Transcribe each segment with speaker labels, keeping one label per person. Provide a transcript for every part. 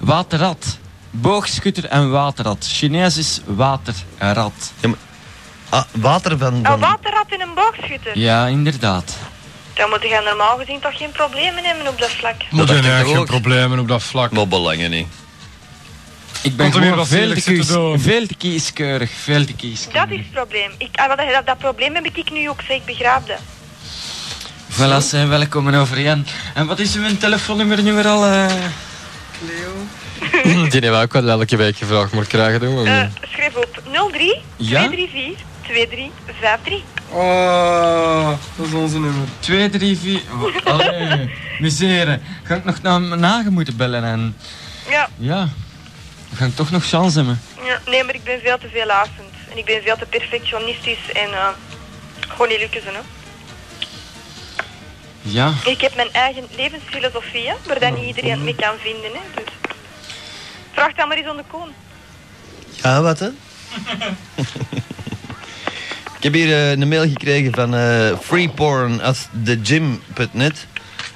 Speaker 1: Waterrat. Boogschutter en waterrat. Chinees is waterrat.
Speaker 2: Ah, water van...
Speaker 3: Een
Speaker 2: van-
Speaker 3: waterrat in een boogschutter.
Speaker 1: Ja, inderdaad.
Speaker 3: Dan moet je normaal gezien toch geen problemen hebben op dat vlak.
Speaker 4: Er
Speaker 2: dacht ik
Speaker 4: zijn eigenlijk geen
Speaker 2: ook.
Speaker 4: problemen op dat vlak.
Speaker 2: Maar belangen niet.
Speaker 1: Ik ben
Speaker 4: Komt er
Speaker 1: gewoon
Speaker 4: weer wat
Speaker 1: veel te,
Speaker 4: zieligs te
Speaker 1: kies,
Speaker 4: doen.
Speaker 1: veel te kieskeurig. Veel te kieskeurig.
Speaker 3: Dat is het probleem. Ik, ah, wel, dat, dat, dat probleem heb ik nu ook, zeg, ik begrijp dat.
Speaker 1: Voilà, zijn welkom overeen. En wat is uw telefoonnummer nu weer al? eh?
Speaker 5: Die hebben we ook wel elke week gevraagd, maar krijgen doen we hem
Speaker 3: Eh,
Speaker 5: niet.
Speaker 3: schrijf op 03
Speaker 1: Ja?
Speaker 3: 234 2353.
Speaker 1: Oh, dat is onze nummer. 2, 3, 4. Oh, allee, misere. Ga ik nog naar mijn nagen moeten bellen en.
Speaker 3: Ja,
Speaker 1: Ja, we gaan toch nog chance hebben.
Speaker 3: ja, nee, maar ik ben veel te veel haastend. En ik ben veel te perfectionistisch en eh, gewoon niet lukken. ze, Hè.
Speaker 1: Ja,
Speaker 3: Ik heb mijn eigen levensfilosofie, hè, waar dat niet iedereen het mee kan vinden. Hè, dus. Vraag dat maar eens aan de koon.
Speaker 2: Ja, Ah, wat hè? Ik heb hier eh, een mail gekregen van eh freeporn.thegym.net.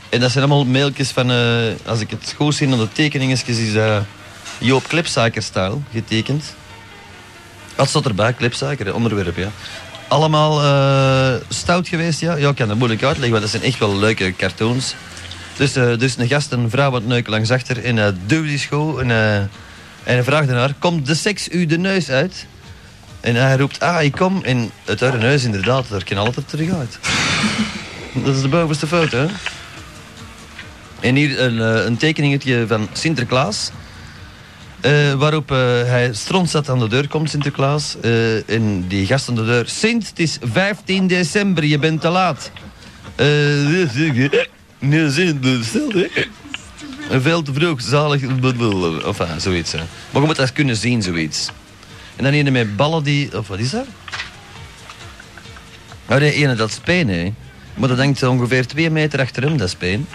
Speaker 2: En dat zijn allemaal mailtjes van, eh, als ik het goed zie aan de tekeningetjes, is dat Joop Klepsuiker-stijl getekend. Wat staat erbij? Klepsuiker, hè, onderwerp, ja. Allemaal eh, stout geweest, ja? Ja, ik kan dat moeilijk uitleggen, want dat zijn echt wel leuke cartoons. Dus, eh, dus een gast en een vrouw wat neuken langs achter in een duwdisco. En, eh, en hij vraagt aan haar, komt de seks u de neus uit? En hij roept, ah, ik kom. En het haar neus, inderdaad, daar kan altijd terug uit. Dat is de bovenste foto, hè? En hier een, eh, een tekeningetje van Sinterklaas. eh, waarop eh, hij strontzat aan de deur komt, Sinterklaas. eh, en die gast aan de deur. Sint, het is 15 december, je bent te laat. Eh, nee, Sint, stil, hè. Veel te vroeg, zalig. Enfin, zoiets. Hè. Maar je moet dat kunnen zien, zoiets. En dan ene met ballen die... Of wat is dat? Oh nee, ene dat is pijn, hè. Maar dat hangt ongeveer twee meter achter hem, dat is pijn.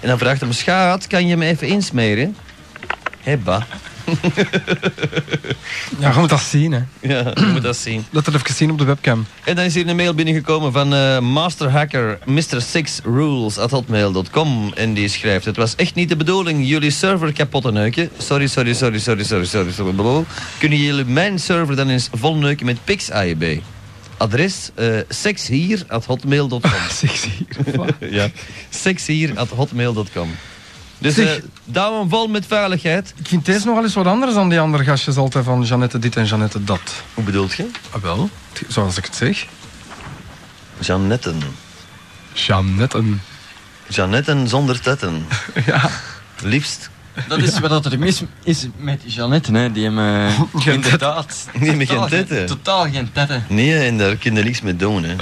Speaker 2: En dan vraagt hem, schaat, kan je me even insmeren? Hebba.
Speaker 4: Ja, je moet dat zien, hè.
Speaker 2: Ja, je moet dat zien.
Speaker 4: Dat er even zien op de webcam.
Speaker 2: En dan is hier een mail binnengekomen van eh masterhacker mr6rules.hotmail.com en die schrijft Het was echt niet de bedoeling jullie server kapot te neuken. Sorry, sorry, sorry, sorry, sorry, sorry, sorry. blablabla. Kunnen jullie mijn server dan eens vol neuken met pixib? Adres eh sekshier.hotmail.com
Speaker 4: Sexy.
Speaker 2: Ja, sekshier.hotmail.com Dus eh
Speaker 4: Zeg.
Speaker 2: daarom vol met veiligheid.
Speaker 4: Ik vind deze nogal eens wat anders dan die andere gastjes altijd van Jeannette dit en Jeannette dat.
Speaker 2: Hoe bedoelt je?
Speaker 4: Ah wel, zoals ik het zeg.
Speaker 2: Janetten.
Speaker 4: Jeannette.
Speaker 2: Janetten zonder tetten.
Speaker 4: Ja.
Speaker 2: Liefst.
Speaker 1: dat is wat er mis is met Jeannette, hè. die hem eh,
Speaker 4: Geen
Speaker 1: inderdaad...
Speaker 2: Nee, maar geen
Speaker 1: totaal
Speaker 2: tetten.
Speaker 1: Totaal geen tetten.
Speaker 2: Nee, en daar kun je niks mee doen, hè.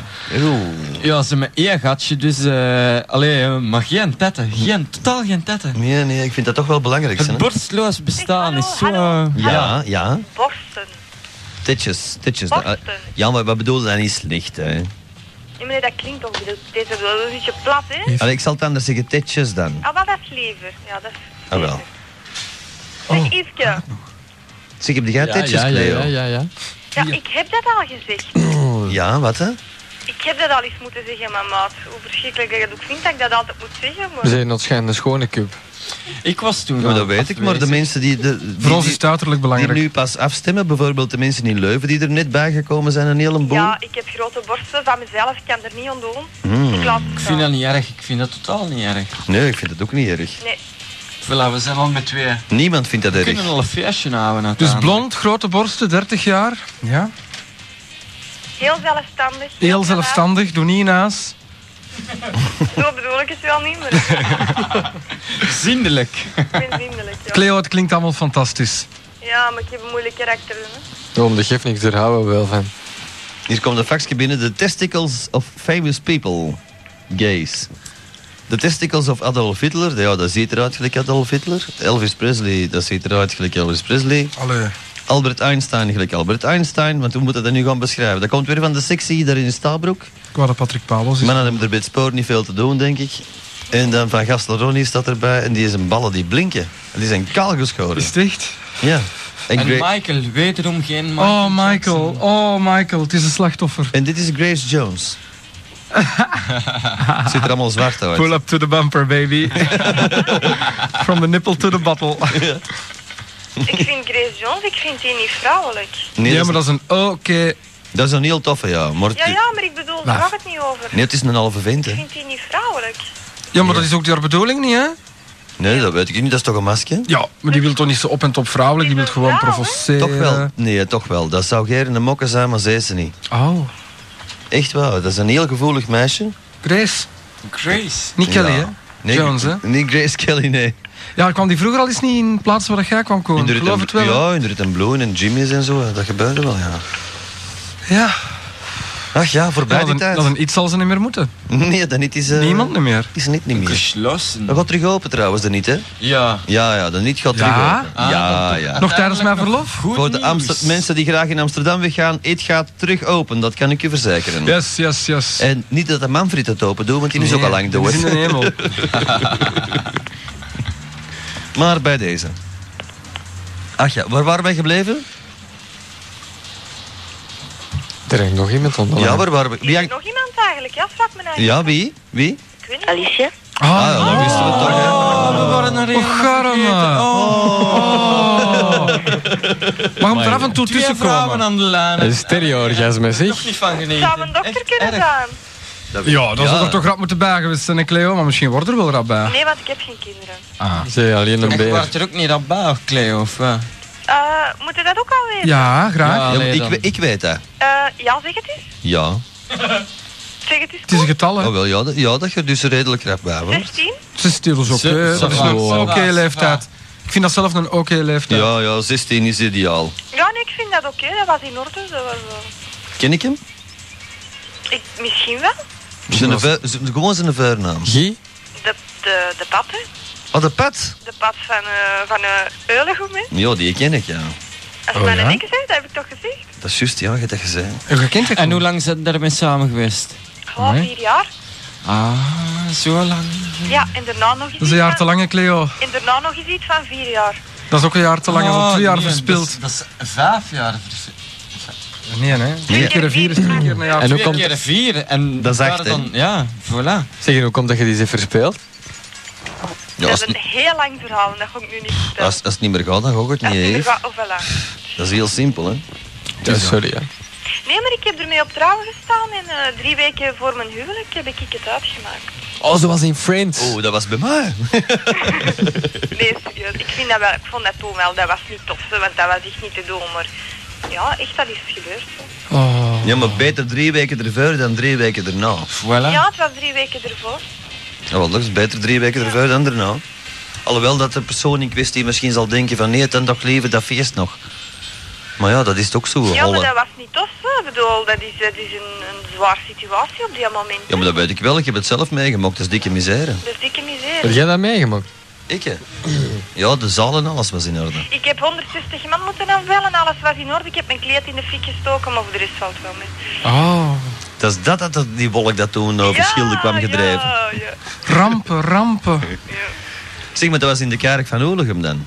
Speaker 2: Oeh.
Speaker 1: Ja, ze hebben één gatje, dus... eh allee, eh, maar geen tetten. Geen, totaal geen tetten.
Speaker 2: Nee, nee, ik vind dat toch wel belangrijk, hè.
Speaker 1: Het borstloos bestaan
Speaker 3: Hallo,
Speaker 1: is zo...
Speaker 3: hallo.
Speaker 1: eh,
Speaker 2: Ja, ja.
Speaker 3: Borsten.
Speaker 2: Titjes, titjes.
Speaker 3: Borsten.
Speaker 2: Ah, Ja, maar wat bedoel je dan niet slecht, hè?
Speaker 3: Ja, meneer, dat klinkt toch dat is een beetje plat, hè?
Speaker 2: Allee, ik zal het anders zeggen, titjes dan.
Speaker 3: Ah, wel, dat is liever. Ja, dat is
Speaker 2: Ah, wel. Oh.
Speaker 3: Zeg, Yveske.
Speaker 2: Zeg, heb jij titjes,
Speaker 5: ja, ja,
Speaker 2: Cleo?
Speaker 5: ja, ja, ja.
Speaker 3: Ja, ik heb dat al gezegd.
Speaker 2: Ja, wat, hè?
Speaker 3: Ik heb dat al eens moeten zeggen, mijn maat. Hoe verschrikkelijk dat ik het ook vind dat ik dat altijd moet zeggen, maar...
Speaker 5: We zijn ontschijnende schone cube.
Speaker 1: Ik was toen...
Speaker 2: Ja, dat
Speaker 1: al
Speaker 2: weet ik, maar de
Speaker 1: afwezig.
Speaker 2: mensen die... De, die-
Speaker 4: Voor ons
Speaker 2: die-
Speaker 4: is het uiterlijk
Speaker 2: die
Speaker 4: belangrijk.
Speaker 2: nu pas afstemmen, bijvoorbeeld de mensen in Leuven die er net bijgekomen zijn, een heleboel.
Speaker 3: Ja, ik heb grote borsten van mezelf, ik kan er niet aan doen.
Speaker 2: Hmm.
Speaker 3: Ik laat het
Speaker 1: Ik
Speaker 3: staan.
Speaker 1: vind dat niet erg, ik vind dat totaal niet erg.
Speaker 2: Nee, ik vind het ook niet erg.
Speaker 3: Nee,
Speaker 1: Voilà, we zijn al met twee.
Speaker 2: Niemand vindt dat
Speaker 1: We
Speaker 2: erg.
Speaker 1: kunnen al een feestje houden
Speaker 4: Dus
Speaker 1: uiteindelijk.
Speaker 4: blond, grote borsten, 30 jaar. Ja.
Speaker 3: heel zelfstandig.
Speaker 4: Heel zelfstandig, doe niet naast.
Speaker 3: Zo bedoel ik het wel niet, maar ik
Speaker 1: Zindelijk.
Speaker 3: ben vriendelijk, ja.
Speaker 4: Cleo, het klinkt allemaal fantastisch.
Speaker 3: Ja, maar ik heb een moeilijk karakter, hè.
Speaker 5: Om de gif niks, daar houden we wel van.
Speaker 2: Hier komt een faxje binnen. The testicles of famous people. Gays. The testicles of Adolf Hitler. Ja, dat ziet eruit gelijk Adolf Hitler. Elvis Presley. Dat ziet eruit gelijk Elvis Presley.
Speaker 4: Allee.
Speaker 2: Albert Einstein gelijk Albert Einstein. Want hoe moet dat dan nu gaan beschrijven? Dat komt weer van de sectie daar in Stabroek.
Speaker 4: Ik wou dat Patrick Paulos is.
Speaker 2: Mannen hebben er bij het spoor niet veel te doen, denk ik. En dan van Gastelroni staat erbij. En die zijn ballen die blinken. En die zijn kaal geschoren.
Speaker 4: Is het echt?
Speaker 2: Ja. En,
Speaker 1: En
Speaker 2: Gra-
Speaker 1: Michael, wederom geen Michael
Speaker 4: Oh, Michael.
Speaker 1: Jackson.
Speaker 4: Oh, Michael. Het is een slachtoffer.
Speaker 2: en dit is Grace Jones. Het ziet er allemaal zwart uit.
Speaker 4: Pull up to the bumper, baby. From the nipple to the bottle.
Speaker 3: Ik vind Grace Jones, ik vind die niet vrouwelijk.
Speaker 2: Nee,
Speaker 4: ja,
Speaker 2: dat,
Speaker 4: maar
Speaker 2: is,
Speaker 4: dat is een oké.
Speaker 2: dat is een heel toffe, ja. Maar het-
Speaker 3: Ja, ja, maar ik bedoel, daar gaat het niet over.
Speaker 2: Nee, het is een halve vent,
Speaker 3: Ik
Speaker 2: hè.
Speaker 3: vind die niet vrouwelijk.
Speaker 4: Ja, maar dat is ook jouw bedoeling niet, hè?
Speaker 2: Nee, dat weet ik niet. Dat is toch een maskje?
Speaker 4: Ja, maar die wil toch niet zo op en top vrouwelijk, die wil gewoon provoceren.
Speaker 2: Toch wel? Nee, toch wel. Dat zou Geer in de mokken zijn, maar zij is ze niet.
Speaker 4: Oh,
Speaker 2: Echt wel. Dat is een heel gevoelig meisje.
Speaker 4: Grace.
Speaker 1: Grace.
Speaker 4: Niet Kelly,
Speaker 2: Ja.
Speaker 4: hè? Jones, hè?
Speaker 2: Niet Grace Kelly, nee.
Speaker 4: Ja, kwam die vroeger al eens niet in plaats waar jij kwam komen?
Speaker 2: In de
Speaker 4: Ik
Speaker 2: Rit
Speaker 4: geloof
Speaker 2: en-
Speaker 4: het wel. hè?
Speaker 2: Ja, in de Rit en Bloemen en Jimmy's en zo. hè. Dat gebeurde wel, ja.
Speaker 4: ja.
Speaker 2: Ach ja, voorbij
Speaker 4: Ja,
Speaker 2: die
Speaker 4: dan,
Speaker 2: tijd.
Speaker 4: dan iets zal ze niet meer moeten.
Speaker 2: Nee, dat niet is... eh,
Speaker 4: Niemand niet meer.
Speaker 2: Is niet, niet meer.
Speaker 1: Geschlossen.
Speaker 2: Dat gaat terug open trouwens, dat niet, hè?
Speaker 1: Ja.
Speaker 2: Ja, ja, dat niet gaat terug
Speaker 4: Ja?
Speaker 2: open. ja,
Speaker 1: Ah,
Speaker 2: ja.
Speaker 4: Nog tijdens mijn verlof?
Speaker 1: Goed
Speaker 2: Voor de
Speaker 1: nieuws.
Speaker 2: Amster- mensen die graag in Amsterdam weggaan, het gaat terug open. Dat kan ik je verzekeren.
Speaker 4: Yes, yes, yes.
Speaker 2: En niet dat de Manfred het open doet, want die is
Speaker 4: Nee,
Speaker 2: ook al lang
Speaker 4: dit
Speaker 2: dood.
Speaker 4: is in de hemel.
Speaker 2: Maar bij deze. Ach ja, waar waren wij gebleven?
Speaker 5: Er hangt nog iemand onder.
Speaker 2: Ja, waar waren we? Wie
Speaker 3: Is er
Speaker 2: hangt-
Speaker 3: nog iemand eigenlijk? Ja, vraag me nou.
Speaker 2: Ja, wie? Wie?
Speaker 3: Ik weet niet.
Speaker 6: Alicia?
Speaker 2: Ah, ja, dat wisten we toch, hè?
Speaker 1: Oh, we waren naar
Speaker 4: Och, garme. Oh. Mag hem er af en toe
Speaker 1: Twee vrouwen
Speaker 4: tussenkomen.
Speaker 1: aan de lijn.
Speaker 5: Een stereo-orgasme,
Speaker 1: Ik
Speaker 5: zeg.
Speaker 1: nog niet van
Speaker 3: Het
Speaker 1: genieten.
Speaker 3: zou een dokter
Speaker 1: Echt
Speaker 3: kunnen
Speaker 1: erg.
Speaker 3: zijn.
Speaker 4: Ja, dan zou
Speaker 2: Ja.
Speaker 4: er toch rap moeten bij geweest zijn, hè, Cleo. Maar misschien wordt er wel rap bij.
Speaker 3: Nee, want ik heb geen kinderen.
Speaker 5: Zij alleen een
Speaker 1: Ik
Speaker 5: beer.
Speaker 1: was er ook niet aan bij, of Cleo, of wat?
Speaker 3: Eh, moet je dat ook al weten?
Speaker 4: Ja, graag.
Speaker 1: Ja.
Speaker 2: Ja, maar
Speaker 1: Allee,
Speaker 2: ik,
Speaker 1: dan.
Speaker 2: we- ik weet dat.
Speaker 3: Ja, ja zeg het eens.
Speaker 2: Ja.
Speaker 3: Zeg het eens.
Speaker 4: Het is een
Speaker 3: goed.
Speaker 4: getal, hè.
Speaker 2: Oh, wel, ja, dat, ja, dat je dus redelijk rap bij wordt.
Speaker 3: 16?
Speaker 4: Ze stil is oké.
Speaker 1: Ze-
Speaker 4: Dat is
Speaker 1: ze-
Speaker 4: een
Speaker 1: ze-
Speaker 4: oké
Speaker 1: ze-
Speaker 4: leeftijd. Ik vind dat zelf een oké leeftijd.
Speaker 2: Ja, ja, 16 is ideaal.
Speaker 3: Ja, nee, ik vind dat oké. Dat was in orde. Dat was, eh,
Speaker 2: Ken ik hem?
Speaker 3: ik, misschien wel.
Speaker 2: Zijn vu- zijn- gewoon zijn vuurnaam.
Speaker 5: Guy?
Speaker 3: De, de, de pad, hè.
Speaker 2: Oh, de pad?
Speaker 3: De pad van, eh van eh Eulegum, hè.
Speaker 2: Ja, die ken ik, ja.
Speaker 3: Als je
Speaker 4: Oh,
Speaker 3: mij
Speaker 4: ja?
Speaker 3: een enkel zegt, dat heb ik toch gezegd?
Speaker 2: Dat is juist, ja, je hebt dat gezegd.
Speaker 4: En je kent het
Speaker 1: En
Speaker 4: niet.
Speaker 1: hoe lang zijn daarmee samen geweest?
Speaker 3: Gewoon
Speaker 4: Amai.
Speaker 3: vier jaar.
Speaker 1: Ah, zo lang.
Speaker 3: Ja, en daarna nog eens
Speaker 4: Dat is een
Speaker 3: iets
Speaker 4: jaar te
Speaker 3: van-
Speaker 4: lang, hè, Cleo.
Speaker 3: En daarna nog eens iets van vier jaar.
Speaker 4: Dat is ook een jaar te lang. Dat is
Speaker 1: Oh,
Speaker 4: al twee jaar verspild.
Speaker 1: Dat is, vijf jaar verspild.
Speaker 4: Nee, nee. Vier
Speaker 3: Nee.
Speaker 4: keer een vier is twee keer een jaar.
Speaker 5: En hoe
Speaker 1: Twee
Speaker 5: komt,
Speaker 1: keer vier. En
Speaker 2: Dat is
Speaker 1: daar
Speaker 2: echt, hè?
Speaker 1: dan, Ja, voilà.
Speaker 5: zeg, en hoe komt dat je die ze verspeeld?
Speaker 2: Ja,
Speaker 3: dat
Speaker 2: als,
Speaker 3: is
Speaker 2: het
Speaker 3: een
Speaker 2: niet-
Speaker 3: heel lang verhaal en dat ga ik nu niet vertellen.
Speaker 2: als, als het niet meer gaat, dan ga ik het
Speaker 3: Als
Speaker 2: niet,
Speaker 3: die er
Speaker 2: hè.
Speaker 3: gaat- oh, voilà.
Speaker 2: Dat is heel simpel, hè.
Speaker 5: Ja, sorry, ja.
Speaker 3: Nee, maar ik heb ermee op trouwen gestaan en eh, drie weken voor mijn huwelijk heb ik het uitgemaakt.
Speaker 5: Oh, ze was in Friends.
Speaker 2: Oh, dat was bij mij.
Speaker 3: Nee, serieus. Ik, vind dat wel, ik vond dat toen wel, dat was niet tof, hè, want dat was echt niet te doen. Maar ja, echt, dat is gebeurd. hè.
Speaker 4: Oh.
Speaker 2: Ja, maar beter drie weken ervoor dan drie weken erna. Oh,
Speaker 1: Voilà.
Speaker 3: Ja, het was drie weken ervoor.
Speaker 2: wel, dat is beter drie weken ervoor dan erna. Alhoewel dat de persoon in kwestie misschien zal denken van nee, dan toch leven dat feest nog. Maar ja, dat is toch zo.
Speaker 3: Ja, maar
Speaker 2: Holle.
Speaker 3: dat was niet tof. hè. Ik bedoel, dat is, dat is een, een zwaar situatie op dat moment.
Speaker 2: Ja, maar dat
Speaker 3: hè.
Speaker 2: weet ik wel. Ik heb het zelf meegemaakt. Dat is dikke misère.
Speaker 3: Dat is dikke
Speaker 5: Heb
Speaker 3: miserie.
Speaker 5: jij dat meegemaakt?
Speaker 2: Ik, hè? Ja, de zaal en alles was in orde.
Speaker 3: Ik heb 160 man moeten aanvellen, alles was in orde. Ik heb mijn kleed in de fik gestoken, maar voor de rest valt wel mee.
Speaker 4: Oh.
Speaker 2: Dat is dat dat die wolk dat toen over Schilde kwam gedreven.
Speaker 3: Ja, ja.
Speaker 4: Rampen, rampen.
Speaker 2: Zeg maar, dat was in de kerk van Olegum dan.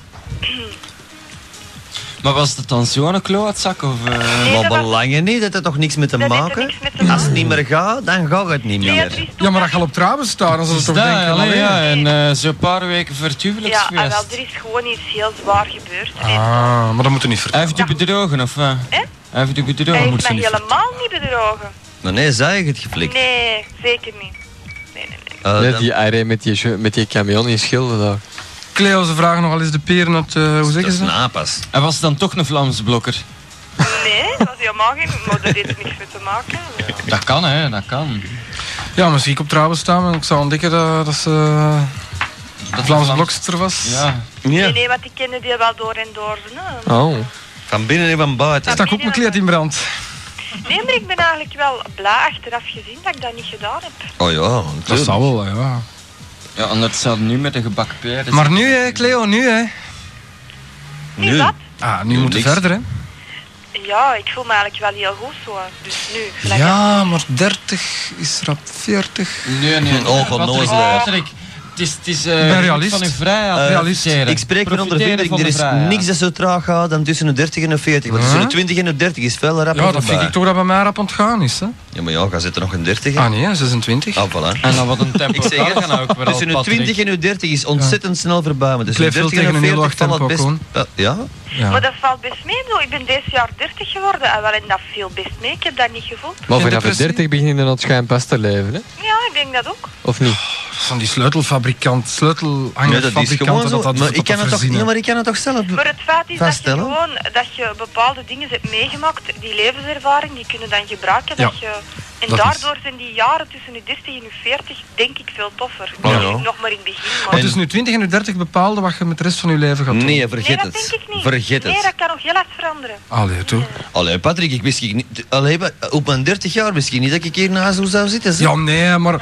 Speaker 1: Maar was dat dan zo'n klootzak? Of, eh,
Speaker 3: Nee,
Speaker 2: maar
Speaker 3: dat was-
Speaker 2: belangen niet, dat had toch niks mee te
Speaker 3: Dat heeft er
Speaker 2: maken?
Speaker 3: niks mee te maken.
Speaker 2: Als het niet meer gaat, dan gaat het niet
Speaker 3: Nee,
Speaker 2: meer.
Speaker 3: er is toen
Speaker 4: Ja, maar dat
Speaker 3: dat-
Speaker 4: gaat op trouwen staan. Dan zal ze
Speaker 1: is
Speaker 4: toch
Speaker 1: dat,
Speaker 4: denken,
Speaker 1: allee,
Speaker 4: allee.
Speaker 1: ja, en eh, zo'n paar weken voor het
Speaker 3: Ja, ah, wel,
Speaker 1: huwelijksfeest.
Speaker 3: er is gewoon iets heel zwaar gebeurd. En
Speaker 4: Ah, maar dat moet je niet
Speaker 1: Hij
Speaker 4: vertellen.
Speaker 1: heeft u bedrogen, of wat?
Speaker 3: Hè?
Speaker 1: Hij heeft u
Speaker 3: Hij
Speaker 1: bedrogen.
Speaker 3: heeft mij helemaal niet bedrogen.
Speaker 2: Maar nee, zij heeft het geflikt.
Speaker 3: Nee, zeker niet. Nee, nee, nee.
Speaker 2: Eh,
Speaker 5: Net
Speaker 2: dan-
Speaker 5: die Irene met die, ju- met die camion in Schilde daar.
Speaker 4: Cleo, ze vragen nogal eens de peren uit, eh, hoe
Speaker 2: dat
Speaker 4: zeggen
Speaker 2: is
Speaker 4: ze
Speaker 2: een
Speaker 4: dat?
Speaker 2: apas.
Speaker 1: Hij was dan toch een Vlaams blokker.
Speaker 3: Nee, dat was helemaal geen... Maar dat heeft niks mee te maken. Ja.
Speaker 1: Dat kan, hè, dat kan.
Speaker 2: nou-
Speaker 4: Ja, misschien ik op trouwen staan, maar ik zou ontdekken dat, dat ze eh,
Speaker 1: Dat
Speaker 4: Vlaamse blokster was.
Speaker 1: Ja.
Speaker 3: Nee,
Speaker 2: Ja.
Speaker 3: nee, want ik kende die wel door en door. Nee.
Speaker 5: Oh.
Speaker 2: Van binnen en van buiten.
Speaker 4: Stak ook mijn kleed in brand.
Speaker 3: nee, maar ik ben eigenlijk wel blij achteraf gezien dat ik dat niet gedaan heb.
Speaker 2: Oh ja,
Speaker 4: Dat
Speaker 2: natuurlijk.
Speaker 4: zou wel, ja.
Speaker 1: ja, anders zouden nu met een gebakken peren.
Speaker 4: Maar nu, hè, Cleo, nu, hè.
Speaker 3: Nu
Speaker 2: Nu.
Speaker 3: dat?
Speaker 4: Ah, nu moeten we
Speaker 2: niks.
Speaker 4: verder, hè.
Speaker 3: Ja, ik voel me eigenlijk wel heel goed zo. Dus nu. gelijk-
Speaker 4: Ja, maar 30 is rap 40.
Speaker 1: Nee, nee.
Speaker 2: Oh, van
Speaker 1: Patrick,
Speaker 2: Noosdijk.
Speaker 1: Patrick, het is, het is
Speaker 4: ben
Speaker 1: eh
Speaker 4: realist.
Speaker 1: van uw vrijheid.
Speaker 2: Eh,
Speaker 1: realist.
Speaker 2: Ik spreek van ondervinding. Er is niks dat zo traag gaat dan tussen de 30 en de 40. Want
Speaker 4: Huh?
Speaker 2: tussen de 20 en de 30 is veel rapper
Speaker 4: Ja, dat vind
Speaker 2: voorbij.
Speaker 4: ik toch dat bij mij rap ontgaan is. Hè?
Speaker 2: Ja, maar ja, ga zitten nog een 30.
Speaker 4: Ah nee, 26.
Speaker 2: Ah, voilà.
Speaker 1: En dan wat een tempo
Speaker 2: Ik zeg
Speaker 1: dat kan ook
Speaker 2: het,
Speaker 1: weer al,
Speaker 2: tussen de
Speaker 1: Patrick.
Speaker 2: 20 en de 30 is ontzettend snel voorbij. Maar tussen de
Speaker 4: Ik leef
Speaker 2: 30
Speaker 4: wel
Speaker 2: en de
Speaker 4: tegen een heel
Speaker 2: 40
Speaker 4: laag
Speaker 2: valt het best...
Speaker 4: tempo,
Speaker 2: Eh, ja?
Speaker 4: Ja.
Speaker 3: Maar dat valt best mee. ik bedoel, Ik ben deze jaar 30 geworden en wel en dat viel best mee. Ik heb dat niet gevoeld.
Speaker 5: Maar vanaf de
Speaker 4: depressie?
Speaker 5: 30 begin je dan aan het schijnpas te leven, hè?
Speaker 3: Ja, ik denk dat ook.
Speaker 5: Of niet?
Speaker 4: Van die sleutelfabrikant,
Speaker 2: Nee, dat is
Speaker 4: sleutelhangerfabrikanten.
Speaker 2: gewoon zo.
Speaker 4: dat, dat,
Speaker 2: maar,
Speaker 4: dat
Speaker 2: ik kan
Speaker 4: dat
Speaker 2: het toch,
Speaker 4: verzinnen.
Speaker 2: ja, maar ik kan het toch zelf...
Speaker 3: Maar het feit is dat je
Speaker 2: Vaststellen?
Speaker 3: gewoon dat je bepaalde dingen hebt meegemaakt, die levenservaring, die kunnen dan gebruiken.
Speaker 4: Ja,
Speaker 3: Dat je, en
Speaker 4: dat
Speaker 3: daardoor zijn die jaren tussen je 30 en je 40 denk ik veel toffer.
Speaker 4: Oh,
Speaker 2: Ja.
Speaker 3: Niet Nog maar in het begin. Maar
Speaker 4: Maar tussen nu 20 en nu 30 bepaalde wat je met de rest van je leven gaat doen.
Speaker 2: Nee,
Speaker 3: nee,
Speaker 2: vergeet
Speaker 3: dat
Speaker 2: het.
Speaker 3: denk ik niet.
Speaker 2: Vergeet
Speaker 3: Nee,
Speaker 2: het.
Speaker 3: dat kan nog heel hard veranderen.
Speaker 4: Allee, toch?
Speaker 2: Allee, Patrick, ik wist ik niet... Allee, maar op mijn 30 jaar misschien niet dat ik hier naast hoe zou zitten. zeg.
Speaker 4: Ja, nee, maar...